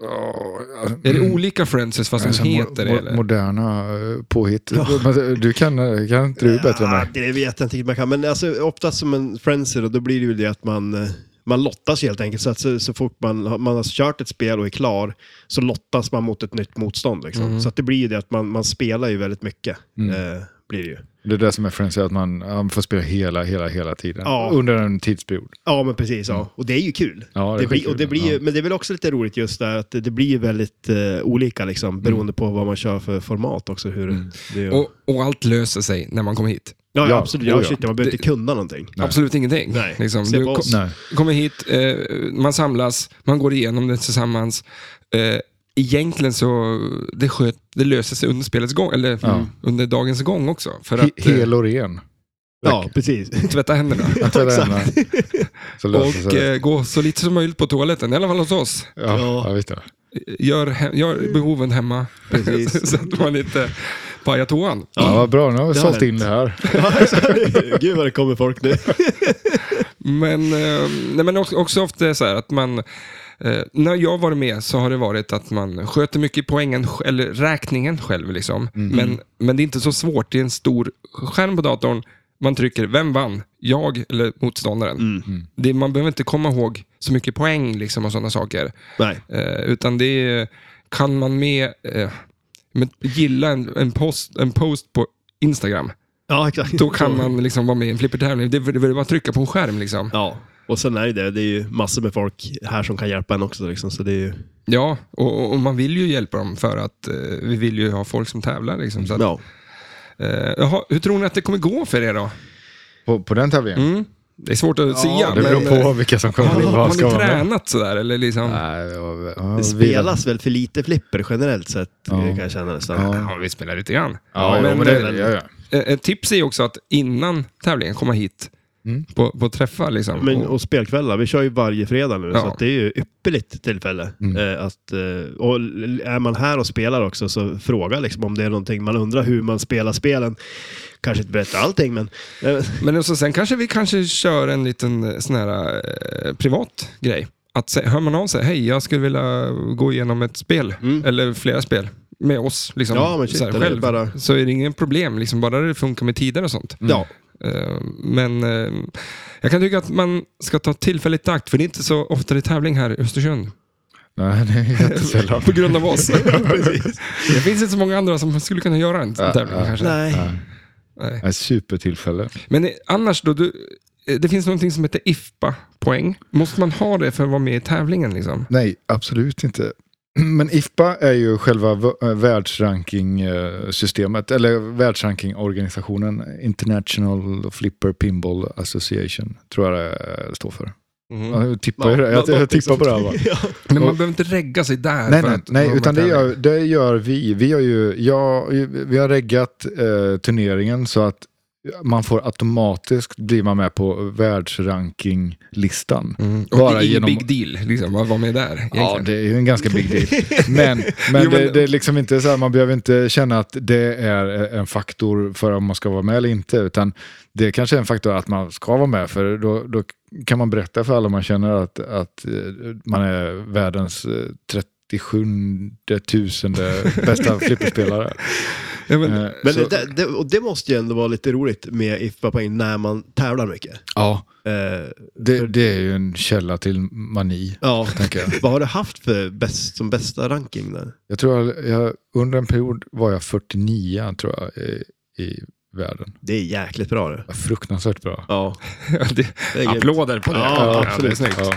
A: är det olika Frenzies fast
C: Alltså,
A: de
C: mo-
A: heter det?
C: mo-
A: Eller?
C: Moderna eh, påhitt. Men eh, Du kan, kan inte du bättre än
B: Ja,
C: mig?
B: det vet jag inte riktigt man kan, men alltså, oftast som en frenzy då, då blir det ju det att man, eh, man lottas helt enkelt. Så, att så, så fort man, har- man har kört ett spel och är klar så lottas man mot ett nytt motstånd. Liksom.
C: Mm.
B: Så att det blir ju det att man, man spelar ju väldigt mycket. Eh, blir det ju.
C: Det är det som är Friends, att man, ja, man får spela hela, hela, hela tiden.
B: Ja.
C: Under en tidsperiod.
B: Ja, men precis. Ja. Och det är ju kul.
C: Mm. Ja, det är
B: det blir,
C: skitkul,
B: och det blir ju,
C: ja.
B: Men det är väl också lite roligt just där att det, det blir ju väldigt eh, olika
C: Mm.
B: liksom, beroende på vad man kör för format också. Hur det är.
A: Och, och allt löser sig när man kommer hit.
B: ja,
C: ja,
B: ja, absolut.
C: oh
B: Ja,
C: ja.
B: shit, man behöver inte kunna någonting.
A: Absolut ingenting.
B: Nej,
A: Liksom,
B: se
A: du
B: på
A: ko-
B: oss.
C: Nej.
A: kommer hit, eh, man samlas, man går igenom det tillsammans. Eh, egentligen så det, sköt, det löser sig under spelets gång, eller
C: Ja.
A: mm, under dagens gång också. För
C: He-
A: att eh,
C: Hel och ren.
B: Ja, precis.
A: tvätta händerna
C: Inte det enda. Så löser
A: och
C: sig.
A: eh, gå så lite som möjligt på toaletten, i alla fall hos oss.
C: Ja,
B: ja.
C: ja. visst ja.
A: Gör, he- gör behoven hemma,
B: Precis.
A: så att man inte pajar toan.
C: ja. Vad bra, nu har vi
B: Det har
C: sålt
B: hänt.
C: in det här.
B: Ja, exakt. Gud vad det kommer folk nu.
A: Men, eh, nej, men också, också ofta är så här att man... Eh, när jag har varit med så har det varit att man sköter mycket poängen, sj- eller räkningen själv. Liksom. Men, men det är inte så svårt. Det är en stor skärm på datorn. Man trycker, vem vann? Jag eller motståndaren?
B: Mm.
A: Det, man behöver inte komma ihåg så mycket poäng liksom, och sådana saker.
B: Nej.
A: Eh, utan det är, kan man med, eh, med gilla en, en, post, en post på Instagram,
B: Ja, exakt.
A: då kan man liksom vara med i en flippertävling. Det, det är bara att trycka på en skärm. Liksom.
B: Ja, och sen är det det. Det är ju massor med folk här som kan hjälpa en också. Liksom, så det är ju...
A: Ja, och, och man vill ju hjälpa dem för att eh, vi vill ju ha folk som tävlar. Liksom, så att,
B: Ja.
A: eh, jaha, hur tror ni att det kommer gå för er då?
C: På, på den tävlingen.
A: Mm? Det är svårt att säga. men,
C: det beror på
A: eh,
C: vilka som
A: har
C: kommer
A: ni,
C: in.
A: har
C: Vad ska
A: ni
C: man med?
A: tränat sådär? Eller liksom?
C: Nej, ja, ja,
B: Det
C: vila.
B: spelas väl för lite flipper generellt sett,
C: Ja.
B: kan jag känna nästan.
A: Ja, vi spelar lite grann.
C: Ja, ja,
A: men,
C: men det,
A: eh,
C: ja, ja.
A: eh, Ett tips är ju också att innan tävlingen komma hit
C: Mm.
A: på, på träffar. Liksom.
B: Men,
A: och,
B: och spelkvällar, vi kör ju varje fredag nu,
A: Ja.
B: så att det är ju ypperligt tillfälle.
C: Mm.
B: Eh, att, eh, och l- är man här och spelar också, så fråga liksom, om det är någonting man undrar hur man spelar spelen. Kanske inte berätta allting, men...
C: Mm.
B: Eh,
A: men också, sen kanske vi kanske kör en liten eh, sån här eh, privat grej. Att se, hör man av sig, hej jag skulle vilja gå igenom ett spel, eller flera spel, med oss. Liksom,
B: Mm. Ja, men shit,
A: så, här,
B: eller
A: själv,
B: bara- Mm.
A: så är det ingen problem, liksom, bara det funkar med tider och sånt.
B: Ja,
A: Eh, Men eh, jag kan tycka att man ska ta tillfälligt i akt, för det är inte så ofta det är tävling här i Östersund.
C: Nej, det är jättesällan.
A: På grund av oss.
B: precis.
A: det finns inte så många andra som skulle kunna göra en sån
C: Ja,
A: tävling
C: ja.
A: kanske.
B: Nej.
A: Nej.
C: Ett supertillfälle.
A: Men eh, annars då, du, eh, det finns någonting som heter IFPA-poäng. Måste man ha det för att vara med i tävlingen? Liksom?
C: Nej, absolut inte. Men IFPA är ju själva v- eh, världsrankingsystemet, eller världsrankingorganisationen International Flipper Pinball Association, tror jag det eh, står för.
A: Mm.
C: Ja, Jag tippar, ju det. jag, jag tippar på det här va?
B: Ja.
A: Men man behöver inte regga sig där.
C: Nej,
A: för att vara
C: nej, nej
A: med i
C: utan det
A: tävlingen.
C: gör, det gör vi. Vi har ju jag, vi har reggat eh, turneringen så att man får automatiskt bli man med på världsrankinglistan.
A: Mm. Och
C: Bara
A: det är ingen
C: genom-
A: big deal liksom, att vara med där.
C: Ja,
A: egentligen.
C: det är ju en ganska big deal. Men, men,
A: Jo, men-
C: Det, det är liksom inte så här, man behöver inte känna att det är en faktor för om man ska vara med eller inte, utan det kanske är en faktor att man ska vara med, för då, då kan man berätta för alla man känner att, att eh, man är världens eh, 37 tusende bästa flipperspelare.
A: ja, men,
C: Eh,
B: Men
C: så-
B: det, det, och det måste ju ändå vara lite roligt med IFBA-poäng när man tävlar mycket.
C: ja,
B: Eh,
C: det, det är ju en källa till mani.
B: ja,
C: Tänker jag.
B: vad har du haft för bäst, som bästa ranking där?
C: Jag tror jag, jag, under en period var jag 49 tror jag i, i världen.
B: Det är jäkligt bra det.
C: Fruktansvärt bra.
B: Ja,
A: det,
B: det är grymt.
A: applåder på det.
B: Ja,
A: det är
B: absolut.
A: snyggt.
C: Ja.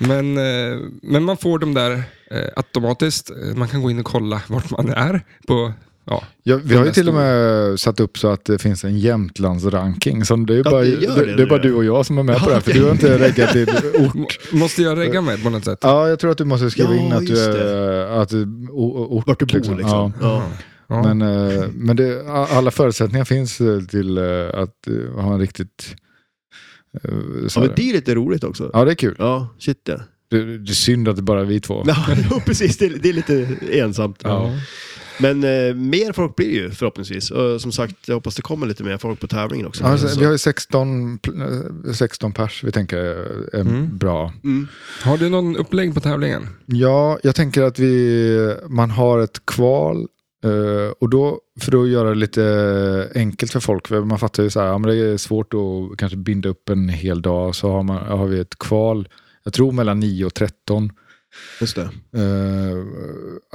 A: Men, eh, men man får dem där eh, automatiskt. Eh, Man kan gå in och kolla vart man är på Ja.
C: Ja, vi har ju
A: Den
C: till och
A: stora.
C: med satt upp så att det finns en Jämtlandsranking. Så det är ju
B: Ja,
C: bara,
B: det gör
C: det,
B: det,
C: det är bara
B: det gör
C: du och jag som är med
B: Ja,
C: på det här, för
B: okej.
C: du har inte reggat din
A: M-
C: ort.
A: Måste jag regga mig på något sätt?
C: Ja, jag tror att du måste skriva
B: Ja,
C: in att du
B: just
C: är... Att, du- o- o- ort,
B: Vart du bor liksom.
C: Ja.
B: Ja.
A: Ja.
C: Men, eh, men det, a- alla förutsättningar finns eh, till eh, att eh, ha en riktigt... eh, så
B: ja, men
C: här-
B: det är lite roligt också.
C: ja, det är kul.
B: Ja, shit ja.
C: Det, det är synd att det bara är vi två.
B: Ja, jo, precis. Det är, det är lite ensamt.
C: Ja.
B: Men eh, mer folk blir ju förhoppningsvis. Och som sagt, jag hoppas det kommer lite mer folk på tävlingen också.
C: Alltså,
B: Så-
C: vi har ju 16, pl- eh, 16 pers vi tänker är
A: Mm.
C: bra.
B: mm.
A: Har du någon upplägg på tävlingen?
C: Ja, jag tänker att vi, man har ett kval. eh, och då, för att göra det lite enkelt för folk, för man fattar ju så här, ja, men det är svårt att kanske binda upp en hel dag, så har, man, har vi ett kval, jag tror mellan 9 och 13,
B: Just det.
C: eh,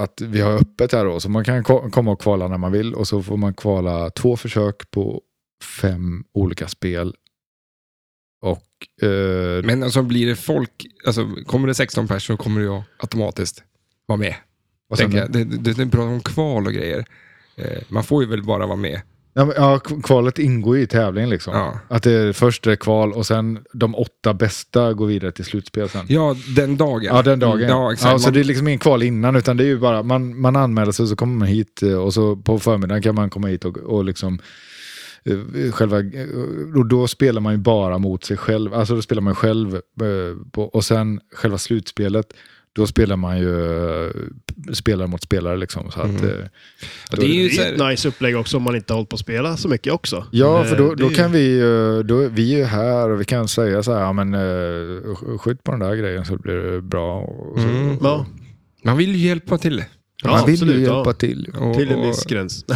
C: att vi har öppet här då, så man kan ko- komma och kvala när man vill och så får man kvala två försök på fem olika spel. Och eh,
A: Men alltså blir det folk, alltså kommer det 16 personer så kommer jag automatiskt vara med.
C: vad sa
A: Tänker
C: du?
A: jag. Det, det, det är bra om kval och grejer. Eh, man får ju väl bara vara med.
C: Ja, men, ja, k- kvalet ingår ju i tävlingen liksom.
A: Ja.
C: Att det är, först är det kval och sen de åtta bästa går vidare till slutspel sen.
A: Ja, den dagen. Mm,
C: Ja, den dagen.
A: Ja, exakt.
C: så
A: Man-
C: det är liksom ingen kval innan, utan det är ju bara man, man anmäler sig så kommer man hit eh, och så på förmiddagen kan man komma hit och, och liksom eh, själva, eh, och då spelar man ju bara mot sig själv, alltså då spelar man själv eh, på, och sen själva slutspelet, då spelar man ju eh, spelare mot spelare liksom. Så att,
A: Mm.
C: eh,
A: Ja,
C: då
A: det är
B: Det
A: ju så
B: är
A: här,
B: ett nice upplägg också om man inte har hållit på att spela så mycket också.
C: Ja,
B: Eh,
C: för då,
B: det
C: då
B: är ju-
C: kan vi ju, då, vi är ju här och vi kan säga så här, ja men eh, sk- skjut på den där grejen så blir det bra. Och så,
A: Mm.
B: Ja,
A: man vill ju hjälpa till.
B: ja
C: Man vill
B: absolut,
C: ju hjälpa
B: ja.
C: till.
A: Och,
B: Till en
A: och-
B: viss gräns.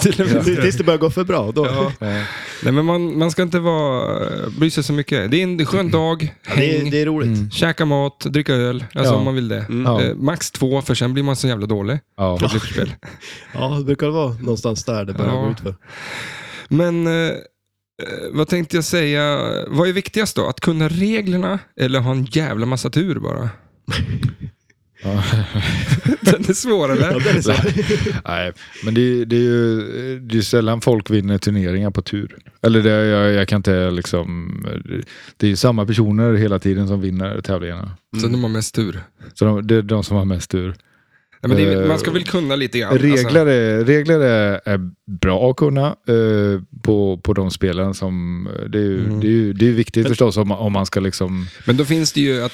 A: till en viss
B: Tills det börjar gå för bra. Då.
A: Ja. Nej, men man, man ska inte vara, bry sig så mycket. Det är en skön dag,
B: Det, är,
A: häng,
B: det är roligt.
C: Mm.
A: käka mat, dricka öl. Alltså
C: Ja.
A: om man vill det.
B: Mm.
C: Ja.
A: Eh, max två, för sen blir man så jävla dålig.
C: Ja.
A: på slutspel.
B: Ja, det brukar vara någonstans där det börjar
A: Ja.
B: gå ut för.
A: Men eh, eh, vad tänkte jag säga? Vad är viktigast då? Att kunna reglerna eller ha en jävla massa tur bara?
C: Ja.
A: Den är svår
B: Ja,
A: eller?
B: det är så.
C: Nej, men det, det är ju det är ju sällan folk vinner turneringar på tur. Eller det, jag, jag kan inte liksom, det är ju samma personer hela tiden som vinner tävlingarna.
A: Så de har mest tur.
C: Så de, det är de som har mest tur.
A: Nej, men det är,
C: Eh,
A: man ska väl kunna lite grann. Alltså,
C: Regler, är, regler är, är bra att kunna eh, på, på de spelen. Som, eh, det, är ju,
A: Mm.
C: det, är ju, det är ju viktigt förstås om, om man ska liksom...
A: men då finns det ju att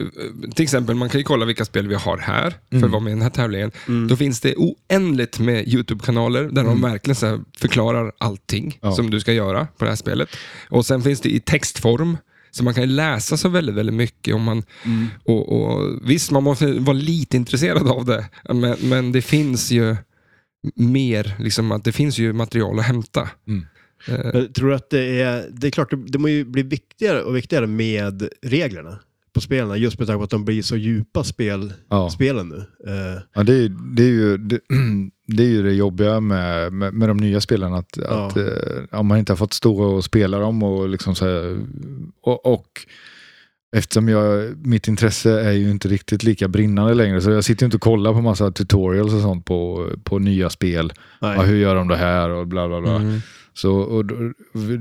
A: eh, till exempel, man kan ju kolla vilka spel vi har här för att vara med i den här tävlingen. Då finns det oändligt med YouTube-kanaler där de verkligen så här förklarar allting
C: Ja.
A: som du ska göra på det här spelet. Och sen finns det i textform, så man kan ju läsa så väldigt, väldigt mycket. Om man, och, och, visst, man måste vara lite intresserad av det, men, men det finns ju mer, liksom, att det finns ju material att hämta.
B: Men tror du att det är... Det är klart, det, det må ju bli viktigare och viktigare med reglerna på spelarna. Just med tanke på att de blir så djupa spel,
C: Ja.
B: spelen nu. Eh,
C: Ja, det, är, det, är ju, det, det är ju det jobbiga med, med, med de nya spelarna. Att,
B: Ja.
C: att, eh, om man inte har fått stå och spela dem och liksom så här, och, och eftersom jag, mitt intresse är ju inte riktigt lika brinnande längre så jag sitter ju inte och kollar på massa tutorials och sånt på, på nya spel.
B: nej.
C: Ja, hur gör de det här och bla bla bla.
A: Mm.
C: Så, och då,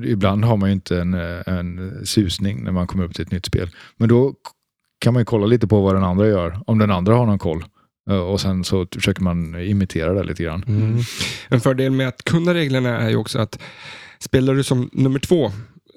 C: ibland har man ju inte en, eh, en susning när man kommer upp till ett nytt spel. Men då k- kan man ju kolla lite på vad den andra gör, om den andra har någon koll. Eh, Och sen så t- försöker man imitera det lite grann.
A: Mm. En fördel med att kunna reglerna är ju också att spelar du som nummer två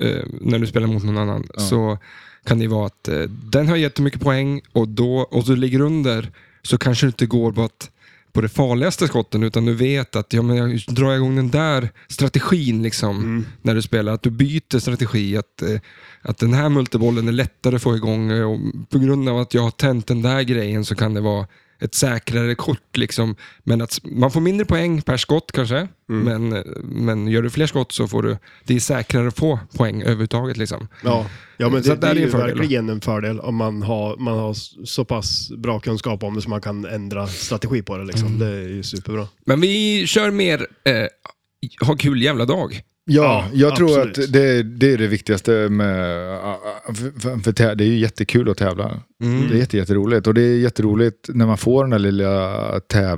A: eh, när du spelar mot någon annan
C: Ja.
A: så kan det vara att eh, den har jättemycket poäng och, då, och du ligger under så kanske du inte går på, att, på det farligaste skotten utan du vet att ja, men jag drar jag igång den där strategin
B: Mm.
A: liksom, när du spelar. Att du byter strategi. Att, eh, att den här multibollen är lättare att få igång eh, och på grund av att jag har tänt den där grejen så kan det vara ett säkrare kort. Liksom. Men att s- man får mindre poäng per skott kanske, men, eh, men gör du fler skott så får du... Det är säkrare att få poäng överhuvudtaget. Liksom.
B: Ja, ja men
A: Så
B: det,
A: att
B: det
A: där
B: är
A: är
B: ju
A: en fördel, då.
B: verkligen en fördel om man har, man har så pass bra kunskap om det så man kan ändra strategi
A: Mm.
B: på det. Liksom. Det är ju superbra.
A: Men vi kör mer eh, ha kul jävla dag.
C: Ja,
B: Ja,
C: jag tror
B: absolut.
C: att det, det är det viktigaste med... För, för, för tä- det är ju jättekul att tävla.
B: Mm.
C: Det är jätte, jätteroligt. Och det är jätteroligt när man får den där lilla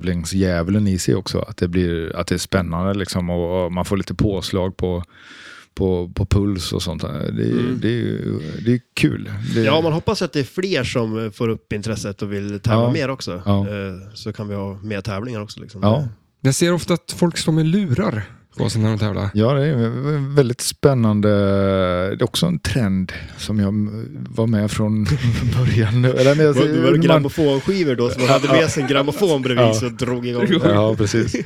C: tävlingsdjävulen i sig också. Att det, blir, att det är spännande liksom. Och, och man får lite påslag på, på, på puls och sånt. där. Det, det, är, ju- det är kul. Det,
B: Mm. Ja, man hoppas att det är fler som eh, får upp intresset och vill tävla
C: Ja.
B: mer också.
C: Ja.
B: Eh, Så kan vi ha mer tävlingar också. Liksom.
C: ja,
A: Jag ser ofta att folk står med lurar på sig när de tävlar.
C: ja, det är en väldigt spännande. Det är också en trend som jag var med från början. Eller, men Alltså, jag-
B: Var, det var
C: man-
B: grammofonskivor då, som man hade med sig en grammofon bredvid
C: Ja.
B: så drog igång.
C: Ja, precis.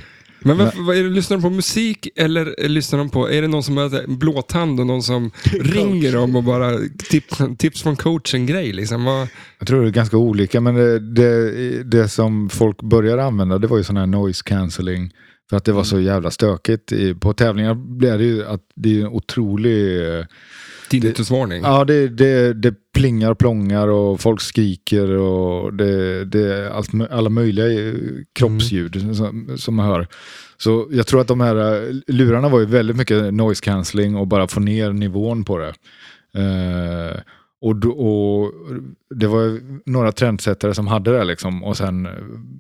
A: Men varför, vad är det, lyssnar de på musik eller eh, lyssnar de på, är det någon som har en blåtand och någon som ringer dem och bara tips, tips från coachen-grej liksom? Vad,
C: Jag tror det är ganska olika, men det, det, det som folk började använda det var ju sån här noise cancelling. För att det var så jävla stökigt. I- På tävlingar blir det ju att det är en otrolig... eh,
A: tinnitusvarning.
C: Ja, det, det, det plingar och plångar och folk skriker och det, det är allt, mö- alla möjliga eh, kroppsljud som, som man hör. Så jag tror att de här eh, lurarna var ju väldigt mycket noise cancelling och bara få ner nivån på det. Eh, och, då- och det var ju några trendsättare som hade det liksom och sen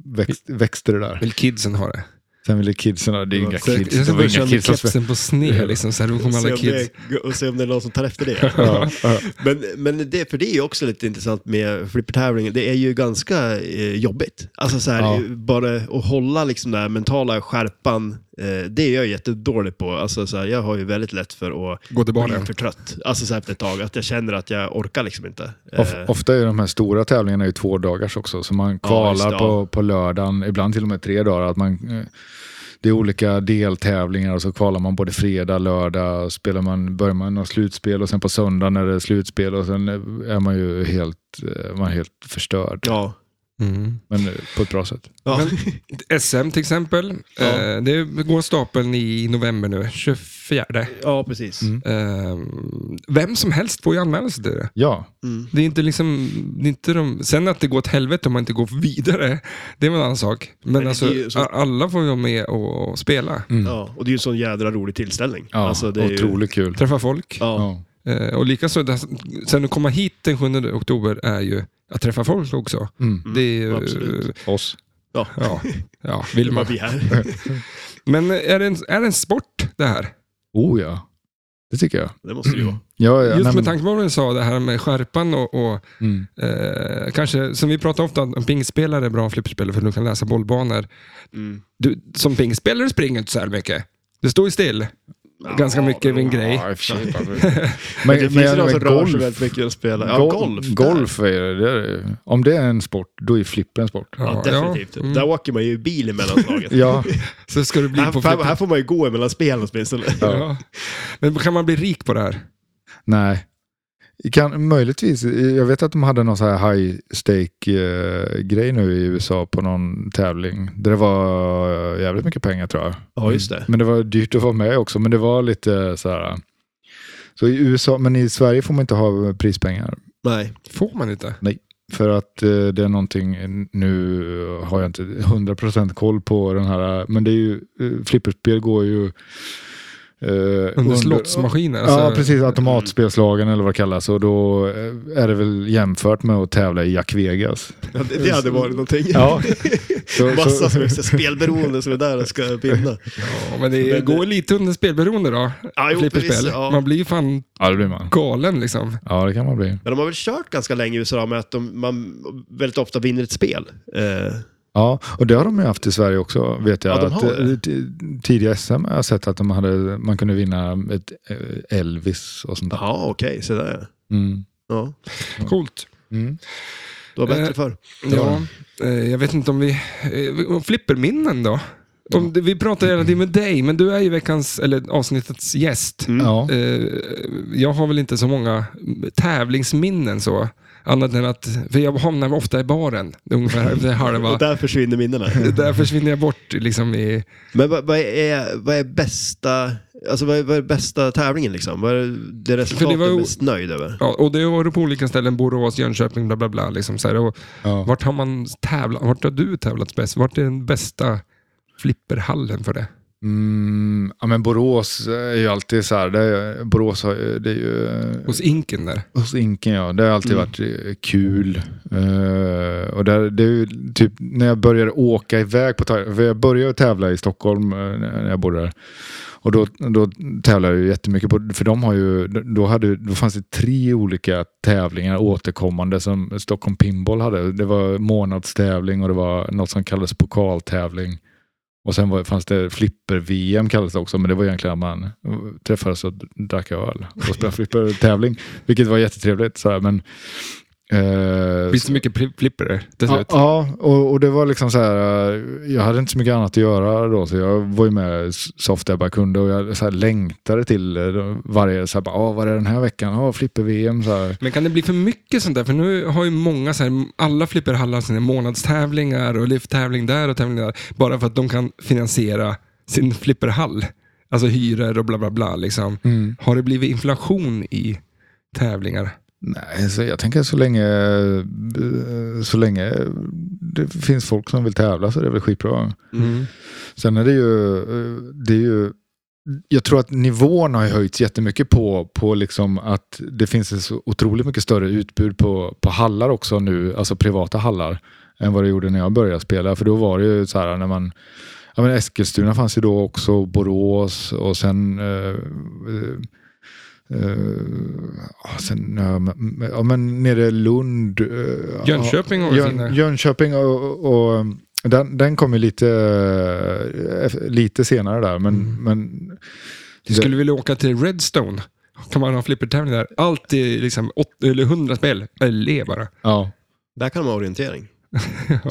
C: växt, växte det där.
A: Vill kidsen ha det?
C: Sen ville kidsen, ha- det är ju inga
B: Så-
C: kids,
A: Jag
C: det
A: ska
C: var
A: bara
C: inga
A: köra
C: kids
A: med
C: som spe-
A: kepsen på sned liksom, så här, då kommer alla
B: Se om,
A: kids.
B: det, och se om det är någon som tar efter det. men men det, för det är ju också lite intressant med flippertävlingen. Det är ju ganska eh, jobbigt. Alltså så här,
C: Ja.
B: eh, bara att hålla liksom den här mentala skärpan. Eh, det är jag jättedålig på. Alltså så här, jag har ju väldigt lätt för att
A: Gå till
B: bli
A: barnen.
B: för trött. Alltså så här efter ett tag. Att jag känner att jag orkar liksom inte. Eh,
C: Of, ofta är de här stora tävlingarna ju två dagars också, så man
B: just
C: kvalar
B: det,
C: på, på lördagen, ibland till och med tre dagar. Att man, eh, det är olika deltävlingar och så kvalar man både fredag, lördag, spelar man, börjar man något slutspel och sen på söndagen är det slutspel och sen är man ju helt, eh, man är helt förstörd.
B: ja.
A: Mm.
C: Men eh, på ett bra sätt.
B: ja.
A: SM till exempel.
B: Ja.
A: Eh, Det går stapeln i november nu, 24.
B: ja, precis.
C: Mm.
A: Eh, Vem som helst får ju anmäla sig till det.
C: Ja,
B: Mm.
A: Det är inte liksom, det är inte de, sen att det går åt helvete om man inte går vidare, det är väl en annan sak. Men,
B: det
A: alltså,
B: är ju så-
A: a- alla får ju vara med och och spela.
B: Ja, och det är ju en sån jädra rolig tillställning.
C: ja
B: Alltså, det är ju-
C: otroligt kul.
A: Träffa folk.
B: Ja.
C: Ja.
A: Eh, och likaså, det- sen att komma hit den 7 oktober är ju att träffa folk också.
C: Mm.
A: det är ju,
B: absolut.
C: Oss.
B: Ja.
A: ja, ja,
B: Det
A: vill
B: är bara
A: man.
B: vi här.
A: Men är det, en, är det en sport det här?
C: Oh ja, det tycker jag.
B: Det måste det ju vara.
C: Ja, ja, nej,
A: Just
C: men-
A: med tanke på vad du sa, det här med skärpan och, och
C: mm.
A: eh, kanske, som vi pratar ofta om, pingspelare är bra flipperspelare för du kan läsa bollbanor.
B: Mm.
A: Du, som pingspelare springer du inte så här mycket. Du står ju still ganska
B: Ja,
A: mycket vid en
B: men-
A: grej.
C: Ja, i och för sig.
B: Men det finns ju de som rör sig
C: golf-
B: väldigt mycket och spelar. Ja,
C: Gol-
B: golf. där.
C: golf är det, det är, det. Om det är en sport, då är flipper en sport.
B: Ja, definitivt.
A: Mm.
B: Där åker man ju bil emellan slaget.
C: Ja,
A: Så ska du bli
B: här,
A: på
B: här,
A: flipper.
B: här får man ju gå emellan spelen åtminstone.
A: Ja. Men kan man bli rik på det här?
C: nej. Kan, möjligtvis, jag vet att de hade någon så här high stake-grej nu i USA på någon tävling. Där det var eh, jävligt mycket pengar tror jag.
B: Ja, just det.
C: Men det var dyrt att vara med också, men det var lite så här. Så i USA, men i Sverige får man inte ha prispengar.
B: Nej.
A: Får man inte?
C: För att eh, det är någonting, nu har jag inte 100% koll på den här, men det är ju, eh, flipperspel går ju... eh,
A: Under slottsmaskiner?
C: Ja,
A: alltså-
C: precis. Automatspelslagen eller vad det kallas. Och då eh, är det väl jämfört med att tävla i Jack Vegas.
B: Ja, det, det hade varit någonting.
C: Så,
B: Massa
C: så,
B: som är så spelberoende som är där och ska vinna.
A: Ja, men det
B: Men-
A: går lite under spelberoende då.
B: Ja, jo,
A: flipperspel.
B: precis, ja.
A: Man blir ju fan
C: ja, det blir man.
A: galen liksom.
C: Ja, det kan man bli.
B: Men de har väl kört ganska länge i USA med att de, man väldigt ofta vinner ett spel. Eh,
C: Ja, och det har de ju haft i Sverige också, vet jag.
B: Ja, de har
C: att, eh,
B: det.
C: t- Tidiga SM har jag sett att de hade, man kunde vinna ett eh, Elvis och sånt där.
B: Jaha, okej, så där
C: Mm.
B: ja.
A: Coolt.
C: Mm.
B: Det var bättre
A: Eh,
B: förr.
A: Ja, eh, jag vet inte om vi... eh, om Flipperminnen då? Om, det- vi pratar hela tiden med dig, men du är ju veckans, eller avsnittets gäst.
B: Mm.
C: Ja.
A: Eh, jag har väl inte så många tävlingsminnen så. Annat än att, för jag hamnar ofta i baren. Det är Ungefär det halva.
B: Och där försvinner minnena.
C: Mm.
A: Där försvinner jag bort liksom i...
B: Men vad, vad, är, vad är bästa alltså vad är, vad är bästa tävlingen liksom? Vad är det
A: För det
B: resultatet
A: var
B: du
A: ju-
B: är mest nöjd över?
A: Ja, och det var på olika ställen, Borås, Jönköping, bla bla bla. Liksom, så här. Och
C: Ja.
A: vart har man tävlat? Vart har du tävlat bäst? Vart är den bästa flipperhallen för det?
C: Mm, ja, men Borås är ju alltid så här, det är, Borås har, ju- det är ju...
A: Hos Inken där.
C: Hos Inken ja, det har alltid
B: Mm.
C: varit eh, kul. Eh, och där, det är ju typ när jag började åka iväg på tävlingar, för jag började tävla i Stockholm eh, när när jag bodde där. Och då, då tävlade jag ju jättemycket, på, för de har ju, då, hade, då fanns det tre olika tävlingar återkommande som Stockholm Pinball hade. Det var månadstävling och det var något som kallades pokaltävling. Och sen var, fanns det flipper-VM kallades det också, men det var egentligen att man eh, träffades och drack öl och spelade flipper-tävling. Vilket var jättetrevligt. Så här, men, eh,
A: Visst är mycket pli- flipper där till
C: Ja,
A: slut?
C: ja och, och det var liksom så här, eh, jag hade inte så mycket annat att göra då, så jag var ju med s- så ofta jag bara kunde och jag så här längtade till eh, då varje, så här, bara, "Ah, vad är det den här veckan? Ja, flipper-VM. Så här.
A: Men kan det bli för mycket sånt där? För nu har ju många, så här, alla flipperhallar sina månadstävlingar och lyfttävling där och tävling där. Bara för att de kan finansiera sin flipperhall. Alltså hyror och bla bla bla. Liksom. Har det blivit inflation i tävlingar?
C: Nej, så jag tänker så länge, eh, så länge det finns folk som vill tävla så är det väl skitbra. Sen är det ju, eh, det är ju jag tror att nivån har ju höjts jättemycket på, på liksom att det finns ett så otroligt mycket större utbud på, på hallar också nu, alltså privata hallar, än vad det gjorde när jag började spela. För då var det ju så här när man, ja men Eskilstuna fanns ju då också, Borås och sen eh, eh, ja, sen, eh, ja, men nere i Lund. eh,
A: Jönköping har ju sina.
C: Jön, Jönköping och, och, och den, den kom ju lite, eh, eff- lite senare där. Men, men
A: Du skulle vilja åka till Redstone. Kan man ha flippertävling där? Allt är liksom 80, eller 100 spel. Eller bara.
C: ja.
B: Där kan de ha orientering.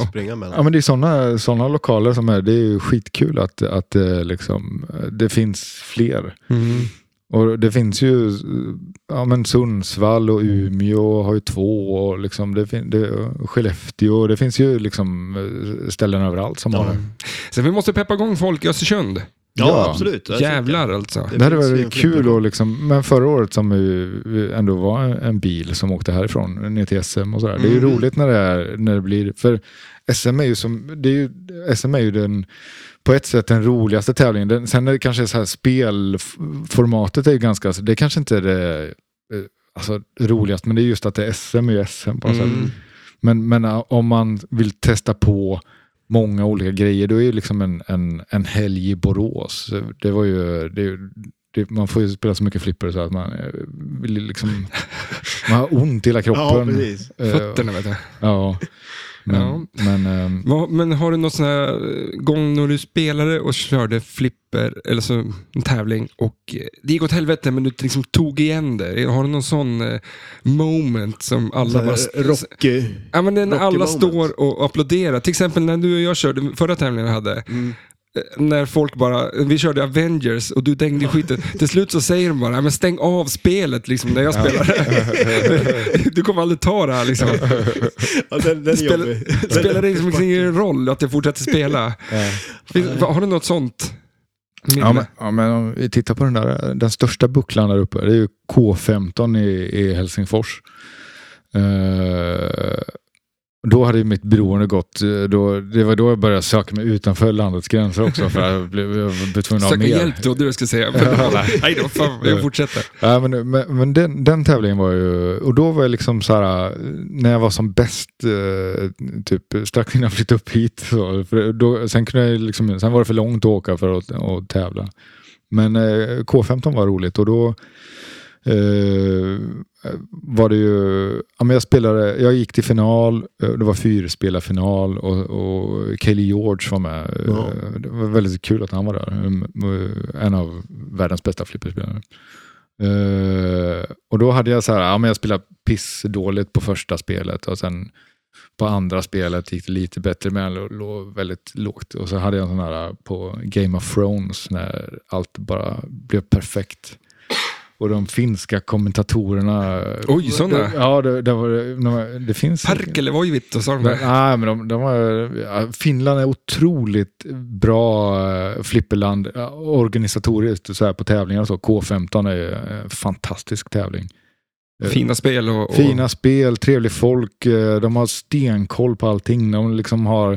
B: Springa mellan.
C: ja, men det är sådana såna lokaler som är, det är ju skitkul att, att eh, liksom, eh, det finns fler. Och det finns ju, eh, ja men Sundsvall och Umeå har ju två och liksom det fin- det, och Skellefteå, det finns ju liksom eh, ställen överallt som har det.
A: Så vi måste peppa igång folk i Östersund.
B: ja,
C: ja.
B: absolut. Jag
A: Jävlar alltså.
B: Det
C: Det hade
B: finns ju
C: varit
B: en flipper.
C: kul och liksom, men förra året som vi, vi ändå var en bil som åkte härifrån ner till SM och sådär. Det är ju
B: Mm.
C: roligt när det, är, när det blir, för SM är ju som, det är ju, SM är ju den, på ett sätt den roligaste tävlingen. Den, sen är det kanske så här spelformatet är ju ganska, alltså, det kanske inte är det eh, alltså, roligast, men det är just att det är SM är ju SM på något
A: Mm.
C: sätt. Men, men eh, om man vill testa på många olika grejer. Då är ju liksom en, en, en helg i Borås. Det var ju, det, är ju- det, man får ju spela så mycket flipper så att man eh, vill liksom, man har ont i hela
B: Ja,
C: kroppen.
B: precis.
C: Eh,
A: Fötterna vet jag.
C: Ja. Men,
A: Ja.
C: men ehm,
A: Vad- Men har du någon sån här eh, gång när du spelade och körde flipper, eller så en tävling, och eh, det gick åt helvete men du liksom tog igen det? Har du någon sån eh, moment som alla bara...
B: Så här, Rocky.
A: Ja, men när
B: rocky
A: alla
B: moment.
A: står och applåderar. Till exempel när du och jag körde förra tävlingen jag hade.
B: Mm.
A: eh, När folk bara, vi körde Avengers och du dängde i skiten. Till slut så säger de bara, "Ja, men stäng av spelet liksom när jag spelar. du kommer aldrig ta det här liksom.
B: Ja, den, den är
A: Spela-
B: jobbig.
A: Spelar det liksom ingen roll att jag fortsätter spela? Finns- va- Har du något sånt?
C: Ja men, ja, men om vi tittar på den där, den största bucklan där uppe, det är ju K15 i, i Helsingfors. Eh, då hade ju mitt beroende gått, eh, då, det var då jag började söka mig utanför landets gränser också för jag blev, jag blev tvungen att ha
A: Söka
C: mer.
A: hjälp då, du ska säga. Men då bara, Nej då, fan, jag fortsätter.
C: Ja, men men, men den, den tävlingen var ju, och då var jag liksom så här, när jag var som bäst, eh, typ strax innan jag flyttade upp hit. Så, för då, sen, kunde jag ju liksom, sen var det för långt att åka för att, att tävla. Men eh, K15 var roligt och då eh, var det ju, ja, men jag spelade, jag gick till final, eh, det var fyrspelarfinal och, och Kelly George var med.
B: Ja.
C: Eh, Det var väldigt kul att han var där, Mm, en av världens bästa flipperspelare. Eh, och då hade jag så här, ja men jag spelade pissdåligt på första spelet och sen på andra spelet gick det lite bättre men jag lå- låg väldigt lågt. Och så hade jag en sån här äh, på Game of Thrones när allt bara blev perfekt. Och de finska kommentatorerna... äh,
A: Oj, sådana?
C: Ja, det, det, var, det, det finns...
A: Perkelevoivit och sådana
C: Men, nej, men de, de var, ja, Finland är otroligt bra eh, flipperland eh, organisatoriskt och så här på tävlingar och så. K15 är ju en fantastisk tävling.
A: fina spel och... och
C: Fina spel, trevlig folk, eh, de har stenkoll på allting. De liksom har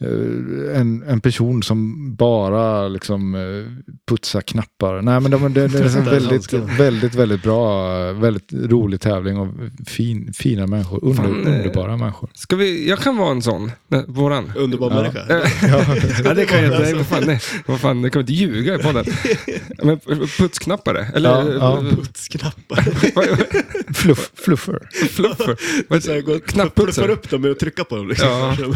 C: eh, en, en person som bara liksom eh, putsar knappar. Nej men de, det, det är en
B: Putsar
C: väldigt,
B: handskarna.
C: väldigt, väldigt bra, eh, väldigt rolig tävling och fin, fina människor, under,
A: Fan, eh.
C: underbara människor.
A: Ska vi, jag kan vara en sån. Nej, våran.
B: Underbar
C: Ja.
B: människa.
A: Ja, det kan jag inte. Nej, vad fan, nej. Vad fan, jag kommer inte ljuga i podden. Men putsknappare? Eller
C: Ja, ja.
B: Putsknappar.
C: Fluff, fluffer.
A: fluffer? Vad
B: Så jag
A: heter
B: går
A: det?
B: och pluppar
A: Knappputsare?
B: upp dem med att trycka på dem. Liksom.
A: Ja.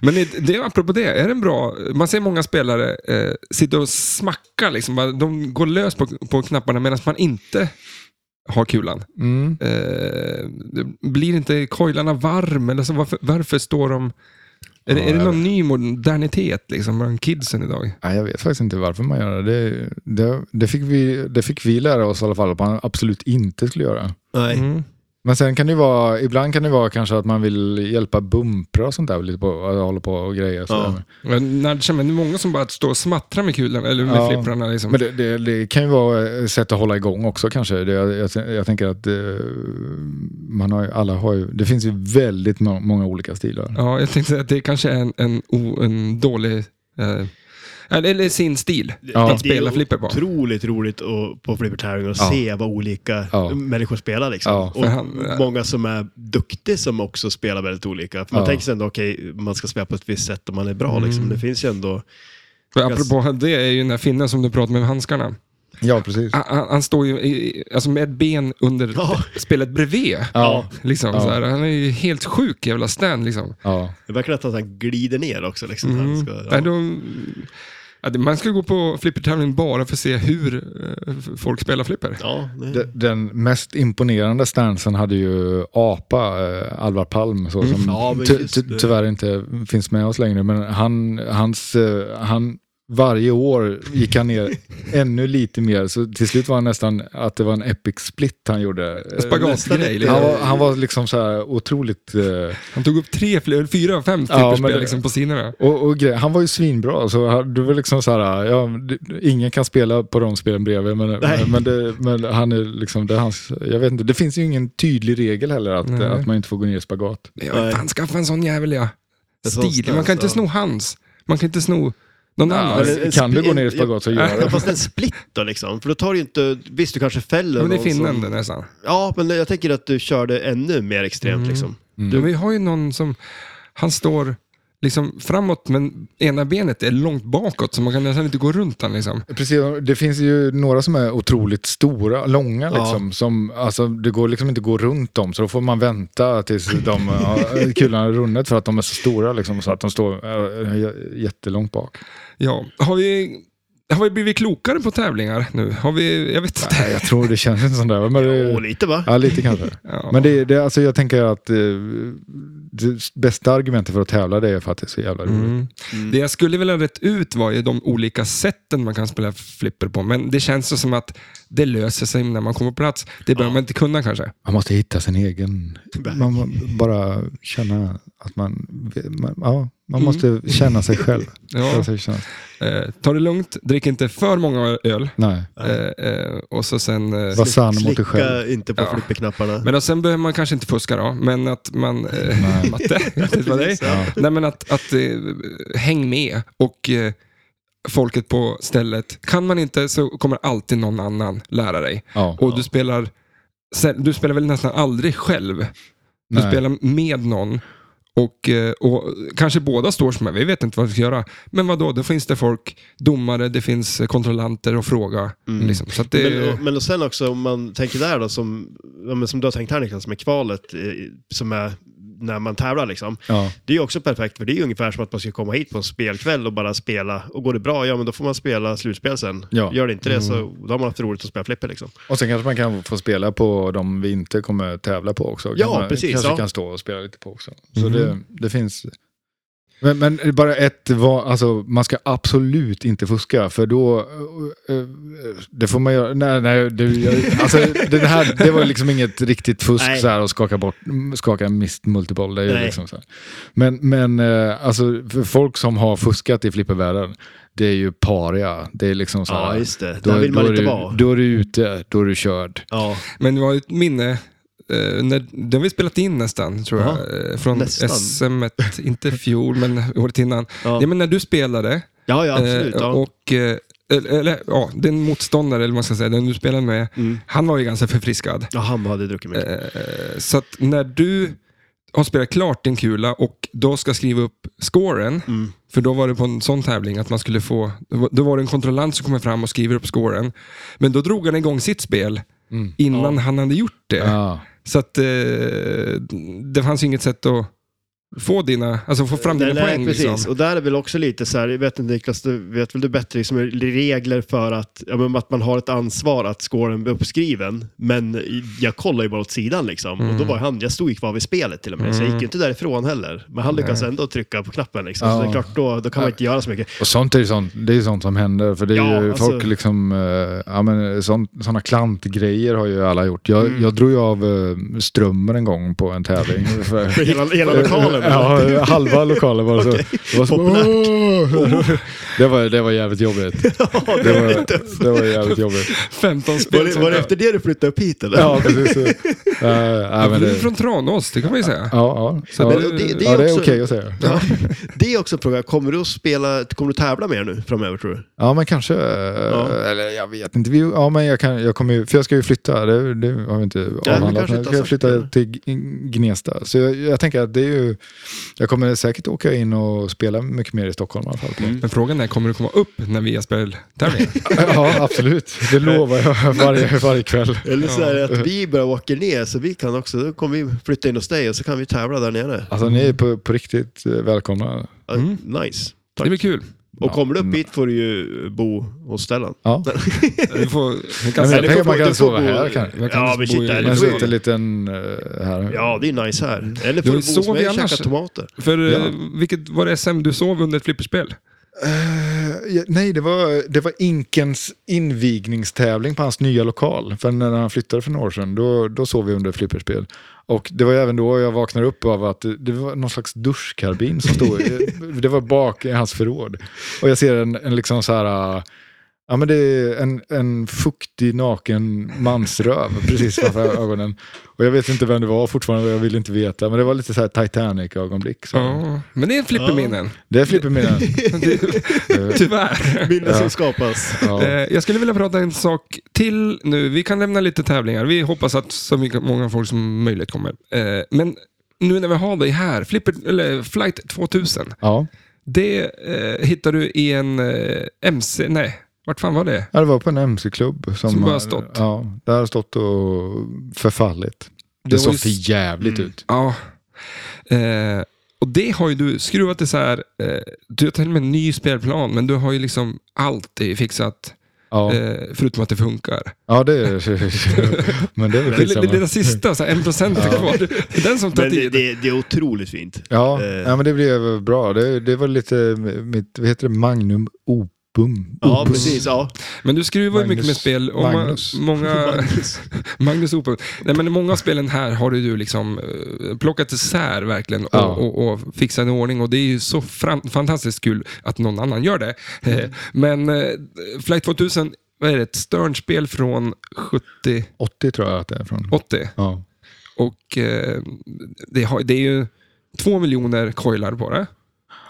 A: Men det, det, apropå det, är det en bra... Man ser många spelare eh, sitta och smacka, liksom. Bara- de går lös på, på knapparna medan man inte har kulan.
C: Mm.
A: Eh, blir inte koilarna varm? Eller så, varför, varför står de... Är, det-
C: Ja,
A: är det
C: jag
A: någon ny modernitet liksom, bland kidsen idag?
C: Ja, jag vet faktiskt inte varför man gör det. Det, det, det, fick vi, det fick vi lära oss i alla fall att man absolut inte skulle göra.
B: Nej.
A: Mm.
C: Men sen kan det ju vara, ibland kan det vara kanske att man vill hjälpa bumpra och sånt där, lite på, hålla på och grejer.
B: Ja.
C: Ja.
A: Men nudge, men det är många som bara står och smattrar med kulan, eller med
C: Ja.
A: flipprarna. Liksom.
C: Men det, det, det kan ju vara ett sätt att hålla igång också kanske. Det, jag, jag, jag tänker att eh, man har, ju- alla har ju, det finns ju väldigt må, många olika stilar.
A: Ja, jag tänkte säga att det kanske är en, en, o- en dålig... Eh, eller, eller sin stil.
C: Ja.
A: Att spela flipper på.
B: otroligt roligt att, på flippertävlingar att
C: Ja.
B: se vad olika
C: Ja.
B: människor spelar. Liksom.
C: Ja,
A: för
B: och
A: han-
B: många som är duktiga som också spelar väldigt olika. För man
C: Ja. Mm.
B: tänker sig ändå, okej, man ska spela på ett visst sätt om man är bra. Liksom. Det finns ju ändå...
A: För apropå det är ju den där finnen som du pratade med, med handskarna.
C: Ja, precis.
A: Han, han, han står ju i, alltså med ett ben under
B: Ja.
A: spelet bredvid.
C: Ja.
A: Liksom,
C: Ja.
A: så här. Han är ju helt sjuk jävla Stan liksom.
C: Ja.
B: Det verkar nästan att han glider ner också. Liksom.
A: Mm.
B: Han ska, ja.
A: Nej, de, ja, det- man ska gå på flippertävling bara för att se hur eh, f- folk spelar flipper.
B: Ja, det-
C: D- Den mest imponerande stansen hade ju APA, eh, Alvar Palm, så, som
B: Mm. Ja, men
C: ty-
B: just
C: ty-
B: det.
C: tyvärr inte finns med oss längre. Men han, hans, eh, han, varje år gick han ner ännu lite mer. Så till slut var han nästan att det var en epic split han gjorde. Eh,
B: nästan
A: Spagatgrej.
B: lite.
A: Liksom.
C: Han var, han var liksom så här otroligt... eh,
A: Han tog upp tre, fl- fyra, fem
C: Ja, men
A: flipperspel
C: det-
A: liksom, på sina.
C: Och, och grej, han var ju svinbra, så han- det var liksom så här, ja, d- ingen kan spela på de spelen bredvid, men,
B: Nej.
C: men, det, men han är liksom, det är hans, jag vet inte, det finns ju ingen tydlig regel heller att,
A: Nej.
C: att man inte får gå ner i spagat.
A: Jag
B: Nej.
A: vill fan skaffa en sån jävel ja.
B: En sån
A: Stil. Man
B: stans,
A: kan inte
B: ja.
A: sno hans. Man kan inte sno någon
C: Ja,
A: annans.
B: men en
C: Alltså, kan du
B: spl-
C: gå ner i
B: en-
C: spagat så gör
B: Ja,
C: det.
B: fast en split då liksom. För då tar du ju inte... Visst, du kanske fäller
A: Men det är
B: någon som-
A: finnen det nästan.
B: Ja, men jag tänker att du körde ännu mer extremt
C: Mm.
B: liksom.
A: Men vi har ju någon som, han står liksom framåt men ena benet är långt bakåt så man kan nästan inte gå runt han liksom.
C: Precis, det finns ju några som är otroligt stora, långa
B: Ja.
C: liksom. Som, alltså, det går liksom inte att gå runt dem, så då får man vänta tills de ja, kulorna har runnit för att de är så stora liksom, så att de står äh, jättelångt bak.
A: Ja, har vi, har vi blivit klokare på tävlingar nu? Har vi, jag vet inte.
C: Nej, jag tror det känns inte sådär. Men det,
B: Och lite va?
C: Mm. Ja, lite kanske.
A: Ja.
C: Men det, det, alltså jag tänker att eh, det bästa argumentet för att tävla det är för att det är så jävla roligt.
A: Mm. Det jag skulle vilja rätt ut var ju de olika sätten man kan spela flipper på, men det känns ju som att det löser sig när man kommer på plats. Det behöver man inte kunna kanske.
C: Man måste hitta sin egen... Man må bara känna att man... man ja, man måste känna sig själv.
A: Mm. Ja.
C: Känna sig, känna.
A: Eh, ta det lugnt, drick inte för många öl.
C: Nej,
A: Eh, eh, och så sen... Eh,
C: var sann mot dig själv.
B: Slicka inte på
A: Ja.
B: flipperknapparna.
A: Men och sen behöver man kanske inte fuska då, men att man... Eh, matte, det var dig.
C: Ja.
A: Nej, men att, att eh, häng med och eh, folket på stället. Kan man inte så kommer alltid någon annan lära dig.
C: Ja.
A: Och du spelar, sä- du spelar väl nästan aldrig själv? Du
C: Nej.
A: spelar med någon. Och, eh, och kanske båda står som är, vi vet inte vad vi ska göra. Men vad då? det finns det folk, domare, det finns eh, kontrollanter och fråga. Liksom. Så att det,
B: Mm. Men, och, men och sen också om man tänker där då, som, ja, men som du har tänkt här Niklas, med kvalet, eh, som är när man tävlar liksom.
C: Ja.
B: Det är ju också perfekt, för det är ju ungefär som att man ska komma hit på en spelkväll och bara spela. Och går det bra, ja men då får man spela slutspel sen.
C: Ja.
B: Gör det inte det så då har man haft roligt att spela flipper liksom.
C: Och sen kanske man kan få spela på de vi inte kommer tävla på också.
B: Ja,
C: kan man,
B: precis,
C: Kanske
B: ja. Mm.
C: kan stå och spela lite på också. Så det, det finns... Men, men bara ett, va- alltså, man ska absolut inte fuska för då, eh, eh, det får man göra, nej, nej, det, jag, alltså, det, här, det var liksom inget riktigt fusk
B: Nej.
C: så här att skaka bort, skaka mist multiboll, det är ju
B: Nej.
C: liksom så här. Men, men eh, alltså, för folk som har fuskat i flippervärlden, det är ju paria, det är liksom så här,
B: Ja, just det.
C: då,
B: Där vill man
C: då är
B: inte
C: du,
B: vara.
C: Då är du ute, då är du körd.
B: Ja,
A: Men det var ju ett minne eh, när, den har vi spelat in nästan, tror jag. eh, Från
B: nästan.
A: SM, -et, inte fjol, men året innan.
B: Ja.
A: Ja, men när du spelade.
B: Ja, ja absolut.
A: eh,
B: Ja.
A: Och, eh, eller, eller, ja, din motståndare, eller vad man ska säga, den du spelade med,
B: Mm.
A: han var ju ganska förfriskad.
B: ja, han hade druckit mycket.
A: Eh, Så att när du har spelat klart din kula och då ska skriva upp scoren,
B: Mm.
A: för då var det på en sån tävling att man skulle få, då var det en kontrollant som kommer fram och skriver upp scoren. Men då drog han igång sitt spel innan han hade gjort det.
C: Mm. Ja.
A: Så att eh, det fanns inget sätt att få dina, alltså få fram
B: Nej,
A: dina
B: nej,
A: poäng.
B: precis.
A: Liksom.
B: Och där är väl också lite så här, jag vet inte Niklas, du vet väl du bättre, liksom, regler för att, ja, men, att man har ett ansvar att scoren blir uppskriven. Men jag kollar ju bara åt sidan liksom. Och då
C: Mm.
B: var han, jag stod ju kvar vid spelet till och med, så jag gick ju inte därifrån heller. Men han lyckades ändå trycka på knappen liksom. Så
C: Ja.
B: det är klart, då, då kan man inte göra så mycket.
C: Och sånt är ju sånt, det är ju sånt som händer. För det är
B: Ja,
C: ju
B: alltså-
C: folk liksom, eh, ja men sådana klantgrejer har ju alla gjort. Jag,
B: Mm.
C: jag drog ju av eh, strömmen en gång på en tävling. För,
B: För hela, hela lokalen.
C: Ja, halva lokalen var det så. Det var, så Åh! det, var, det var jävligt jobbigt. Det var, det var jävligt jobbigt.
A: 15
B: Var
A: spel.
B: det, var det efter det du flyttade upp hit eller?
C: Ja, precis. Eh, nej, men
A: Du är
C: det,
A: från Tranås, det kan man ju säga.
C: ja, ja,
B: Men
C: ja,
B: det, det, det är
C: ja, det är okej
B: också-
C: att säga.
B: Ja. Det är också en fråga, kommer du att spela, kommer du tävla mer nu framöver tror du?
C: Ja, men kanske. eh, Eller jag vet inte. Vi, ja, men jag, kan, jag kommer ju, för jag ska ju flytta. Det, det har vi inte
B: du
C: avhandlat.
B: kanske
C: men
B: inte
C: Jag
B: har
C: ska
B: sagt
C: flytta
B: det.
C: till G- Gnesta. Så jag, jag tänker att det är ju... Jag kommer säkert åka in och spela mycket mer i Stockholm i alla fall.
A: Men frågan är, kommer du komma upp när vi har speltävlingen?
C: Ja, absolut. Det lovar jag varje, varje kväll.
B: Eller så är det att vi bara åker ner så vi kan också, då kommer vi flytta in hos dig och så kan vi tävla där nere.
C: Alltså ni är på, på riktigt eh, välkomna.
B: Ja, Nice.
A: Mm. Det blir kul.
B: Och kommer du upp hit får du ju bo hos Stellan.
C: Ja.
A: Du får, du kan
C: Nej,
A: säga
C: men jag
B: du
C: tänker att
B: får-
C: man
B: du
C: kan
B: får
C: sova
B: bo-
C: här. Kan.
A: Jag kan
B: Ja,
A: inte
B: men
A: bo
B: shit,
A: i-
B: det är
A: Men
C: Man
B: får ju-
C: sitter en liten eh, här.
B: Ja, det är nice här.
A: Du
B: Eller får du bo hos
A: sover
B: mig och
A: annars-
B: käka tomater.
A: För eh,
C: Ja.
A: vilket, var det SM du sov under ett flipperspel?
C: Eh, ja, nej, det var, det var Inkens invigningstävling på hans nya lokal. För när han flyttade för några år sedan, då, då sov vi under flipperspel. Och det var ju även då jag vaknade upp av att det, det var någon slags duschkarbin som stod, eh, det var bak i hans förråd. Och jag ser en, en liksom så här, eh, ja men det är en, en fuktig naken mansröv precis framför ögonen. Och jag vet inte vem det var fortfarande, jag vill inte veta. Men det var lite så här Titanic-ögonblick. så.
A: Ja, men det är en flipperminnen.
C: Det är flipperminnen.
A: Tyvärr.
B: Minnen som skapas.
C: Ja.
A: Eh, Jag skulle vilja prata en sak till nu. Vi kan lämna lite tävlingar. Vi hoppas att så mycket- många folk som möjligt kommer. Eh, Men nu när vi har dig här, Flipper, eller Flight 2000,
C: ja.
A: det eh, hittar du i en eh, MC... Nej, vart fan var det?
C: Ja, det var på en mc-klubb. Som,
A: Som bara
C: har-
A: stått.
C: Ja, där har stått och förfallit. Det,
A: var
C: såg
A: ju-
C: för jävligt ut.
A: Ja. Eh, och det har ju du skruvat isär. Eh, du har till och med en ny spelplan, men du har ju liksom alltid fixat,
C: Ja,
A: eh, förutom att det funkar.
C: ja det är Men det är väl
A: Det, det, det är
C: skitsamma.
A: den sista, så här, en procent är kvar. Det är den som tar
B: Men det,
A: tid.
B: det, det är otroligt fint.
C: Ja,
B: Eh.
C: ja, men det blev bra. Det, det var lite mitt, vad heter det, magnum opum.
B: Ja,
C: opus.
B: precis. Ja.
A: Men du skruvar ju
C: Magnus-
A: mycket med spel. Och Magnus.
C: Magnus.
A: många, Magnus Opel. Nej, men många av spelen här har du ju liksom eh, plockat isär verkligen och,
C: Ja.
A: och, och fixat i ordning. Och det är ju så fram- fantastiskt kul att någon annan gör det. Eh, Men eh, Flight 2000, vad är det? Ett Stern-spel från 70-80.
C: 80 tror jag att det är från. Ja.
A: Och eh, det, har, det är ju två miljoner coilar på det.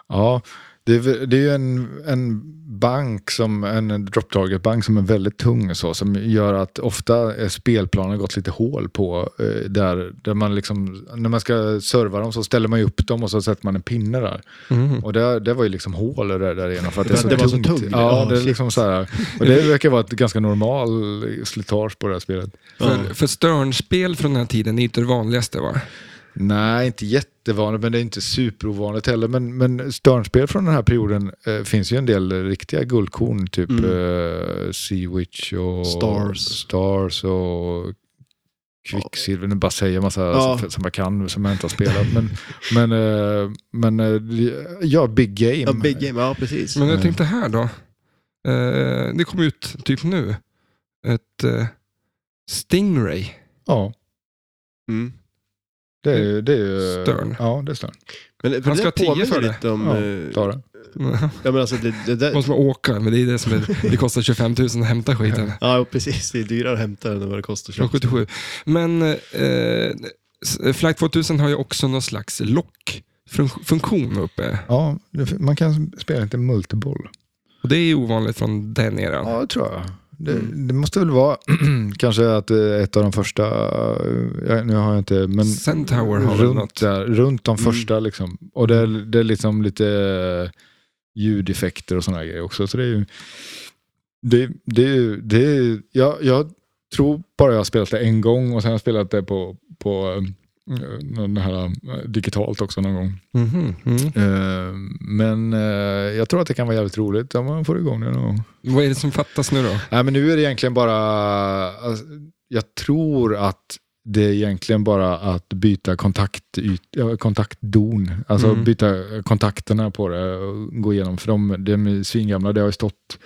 C: Ja, det är, väl- det är ju en, en bank, som, en drop target bank som är väldigt tung och så, som gör att ofta eh, spelplanen gått lite hål på. Eh, där, där man liksom, när man ska serva dem så ställer man ju upp dem och så sätter man en pinne där. Och det, det var ju liksom hål där, där igenom för att det är
B: För
C: så
B: att Mm. det var så
C: tungt.
B: tungt.
C: Ja,
B: Ja,
C: det är
B: shit.
C: liksom så här. Och det verkar vara ett ganska normal slitage på det här spelet.
A: För, för Stern-spel från den här tiden är inte det vanligaste va?
C: Nej, inte jättevanligt, men det är inte superovanligt heller. Men, men störnspel från den här perioden eh, finns ju en del eh, riktiga guldkorn, typ eh, Sea Witch och
B: Mm. Stars.
C: Stars och Kvicksilver. Nu bara säger jag massa
B: Ja.
C: som, som jag kan, som jag inte har spelat. Men, men, eh, men eh, ja, Big Game.
B: Ja, big game. Ja, precis.
A: Men jag
C: Mm.
A: tänkte här då. Eh, det kom ut typ nu. Ett eh, Stingray.
C: Ja,
B: Mm.
C: det är ju... Det är ju
A: Störn.
C: Ja, det är Störn.
B: Men för
A: Han ska
B: det
A: ha tio
B: påminner
A: för det.
B: lite om...
C: Ja,
B: eh,
C: Ta det.
B: Ja, men alltså, det, det, det,
A: Måste man åka, men det är det som är, det kostar 25 000 att hämta skiten.
B: ja, precis. Det är dyrare att hämta den än vad det kostar att
A: Från
B: köpa.
A: 77. Men eh, s- Flight 2000 har ju också någon slags lockfunktion uppe.
C: Ja, det- man kan spela lite multiboll.
A: Och det är ju ovanligt från den eran.
C: Ja, det tror jag. Det,
A: Mm.
C: det måste väl vara kanske att det är ett av de första, ja, nu har jag inte, men
A: Centaur har väl
C: runt,
A: något. Mm.
C: där, runt de första liksom. Och det är, det är liksom lite ljudeffekter och sådana grejer också. Så det är ju, det, det är ju, det är, ju- jag, jag tror bara jag har spelat det en gång och sen har jag spelat det på, på eh, den här, eh, digitalt också någon gång.
A: Mhm, mm.
C: Eh, Men eh, jag tror att det kan vara jävligt roligt om man får igång det någon gång.
A: Vad är det som fattas nu då?
C: Nej, men nu är det egentligen bara... Alltså, jag tror att det är egentligen bara att byta kontaktyt, ja, kontaktdon. Alltså
A: Mm.
C: byta kontakterna på det och gå igenom. För de, de är svingamla. Det har ju stått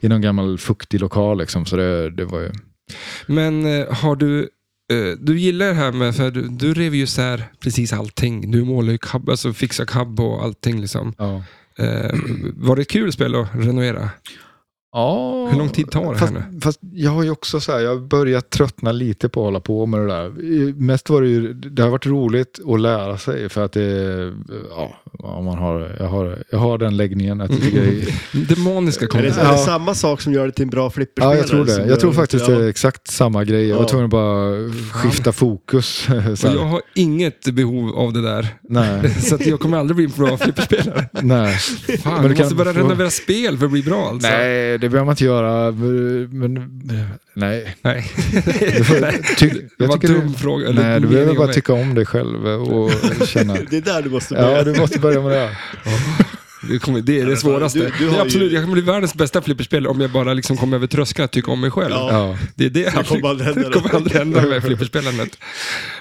C: i någon gammal fuktig lokal. Liksom, så det, det var ju...
A: Men eh, har du... eh, Du gillar det här med, för du, du rev ju isär precis allting. Du målade ju cab, alltså fixade cab och allting liksom.
C: Ja.
A: Eh, var det ett kul spel att renovera?
C: Ja,
A: Hur lång tid tar det här
C: fast, fast jag har ju också så här, jag har börjat tröttna lite på att hålla på med det där. I- Mest var det ju, det har varit roligt att lära sig för att det, ja, om man har, jag har, jag har den läggningen att jag tycker det är,
A: Demoniska
B: Är det,
A: kommer.
B: är det
C: Ja.
B: samma sak som gör det till en bra flipperspelare?
C: Ja, jag tror
B: som
C: det.
B: gör
C: Jag tror
B: det-
C: faktiskt
B: ja.
C: det är exakt samma grej. Jag var
B: Ja.
C: tvungen att bara skifta fokus. Så
A: Och jag
C: här.
A: har inget behov av det där.
C: Nej,
A: Så att jag kommer aldrig bli en bra flipperspelare.
C: nej.
A: Fan,
C: Men
A: du
C: du kan
A: måste börja
C: få-
A: renovera spel för att bli bra alltså.
C: Nej, det behöver man inte göra. Men, nej.
A: Nej.
C: Ty,
A: Det
C: jag
A: var en
C: tycker
A: dum
C: du,
A: fråga. eller
C: nej, du
A: mening
C: behöver
A: av
C: bara
A: mig.
C: tycka om dig själv och känna.
B: Det är där du måste börja.
C: Ja, du måste börja med det.
A: Det, kommer, det är det svåraste.
B: Du- du
A: det
B: har
A: är
B: ju-
A: absolut, Jag kommer bli världens bästa flipperspelare om jag bara liksom kommer över tröskeln att tycka om mig själv.
B: Ja.
C: Ja.
A: Det är det jag
B: kommer aldrig hända.
A: det kommer aldrig hända med flipperspelandet.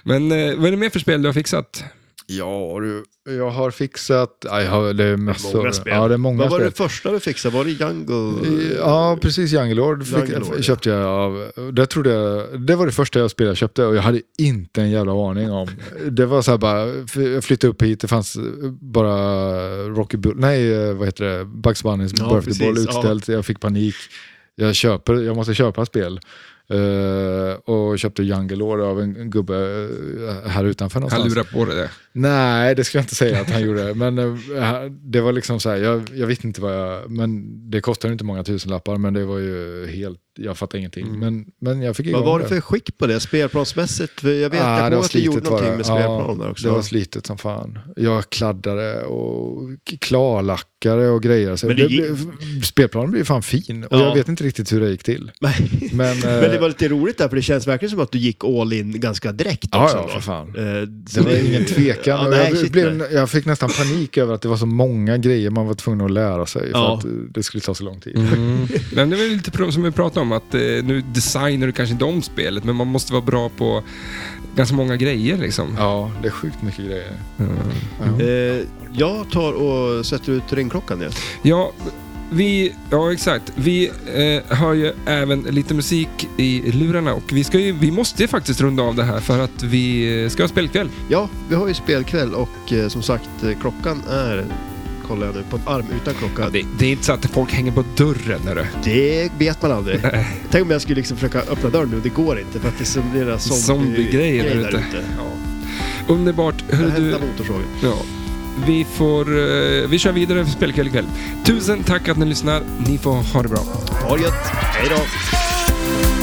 A: Men eh, vad är det mer för spel du har fixat?
C: Ja, du, jag har fixat... Ja, jag har, det är massor.
B: Många spel.
C: Ja, det är många
B: Vad var det
C: spel.
B: första du fixade? Var det Django?
C: Ja, precis. Jungle Lord fick,
B: Jungle Lord, ja.
C: köpte jag av. Det, trodde jag, det var det första jag spelade jag köpte och jag hade inte en jävla aning om. Det var så här bara, för jag flyttade upp hit, det fanns bara Rocky Bull, nej eh, vad heter det, Bugs Bunnys
B: Ja,
C: birthday ball
B: precis, ja.
C: utställt. Jag fick panik. Jag, köper, jag måste köpa spel. Eh, och köpte Jungle Lord av en, en gubbe eh, här utanför
A: Han
C: någonstans.
A: lurar på det.
C: Nej, det ska jag inte säga att han gjorde. Men eh, det var liksom så här, jag, jag vet inte vad jag... Men det kostade ju inte många tusenlappar, men det var ju helt... Jag fattade ingenting. Men, men jag fick igång
B: Mm. Vad var det för skick på det spelplansmässigt? För Jag vet, jag
C: Ah, det var
B: kommer att du gjorde
C: slitet var
B: någonting
C: det.
B: med
C: Ja,
B: spelplan där också.
C: Det var slitet som fan. Jag kladdade och k- klarlackade och grejer. Så
B: Men
C: men
B: det
C: det
B: gick-
C: blev- Spelplanen blev ju fan fin. Och
B: Ja.
C: jag vet inte riktigt hur det gick till.
B: Nej.
C: Men, eh,
B: Men det var lite roligt där, för det känns verkligen som att du gick all in ganska direkt
C: Ja,
B: också.
C: ja,
B: då.
C: för fan.
B: Eh,
C: Det
B: så
C: var ingen tvekan.
B: Ja,
C: Och
B: nej,
C: jag,
B: shit,
C: blev,
B: nej.
C: jag fick nästan panik över att det var så många grejer man var tvungen att lära sig för
B: Ja.
C: att eh, det skulle ta så lång tid.
A: Mm. Men det är väl lite problem som vi pratade om, att eh, nu designar du kanske inte om spelet, men man måste vara bra på ganska många grejer liksom.
C: Ja, det är sjukt mycket grejer.
B: Eh, jag tar och sätter ut ringklockan nu.
A: Ja, vi, ja exakt. Vi eh, har ju även lite musik i lurarna och vi, ska ju, vi måste ju faktiskt runda av det här för att vi eh, ska ha spelkväll.
B: Ja, vi har ju spelkväll och eh, som sagt, eh, klockan är, kollar jag nu, på en arm utan klocka. det...
A: det, det är inte så att folk hänger på dörren. Är det?
B: vet man aldrig. Tänk om jag skulle liksom försöka öppna dörren nu, det går inte för att det är så flera zombie-
A: Zombie-grejer där
B: grejer
A: ute. Underbart. Hörru, du,
B: Hämta motorsågen.
A: ja, vi, får, eh, vi kör vidare för spelkväll ikväll. Tusen tack att ni lyssnar. Ni får ha det bra.
B: Ha det gött. Hej då.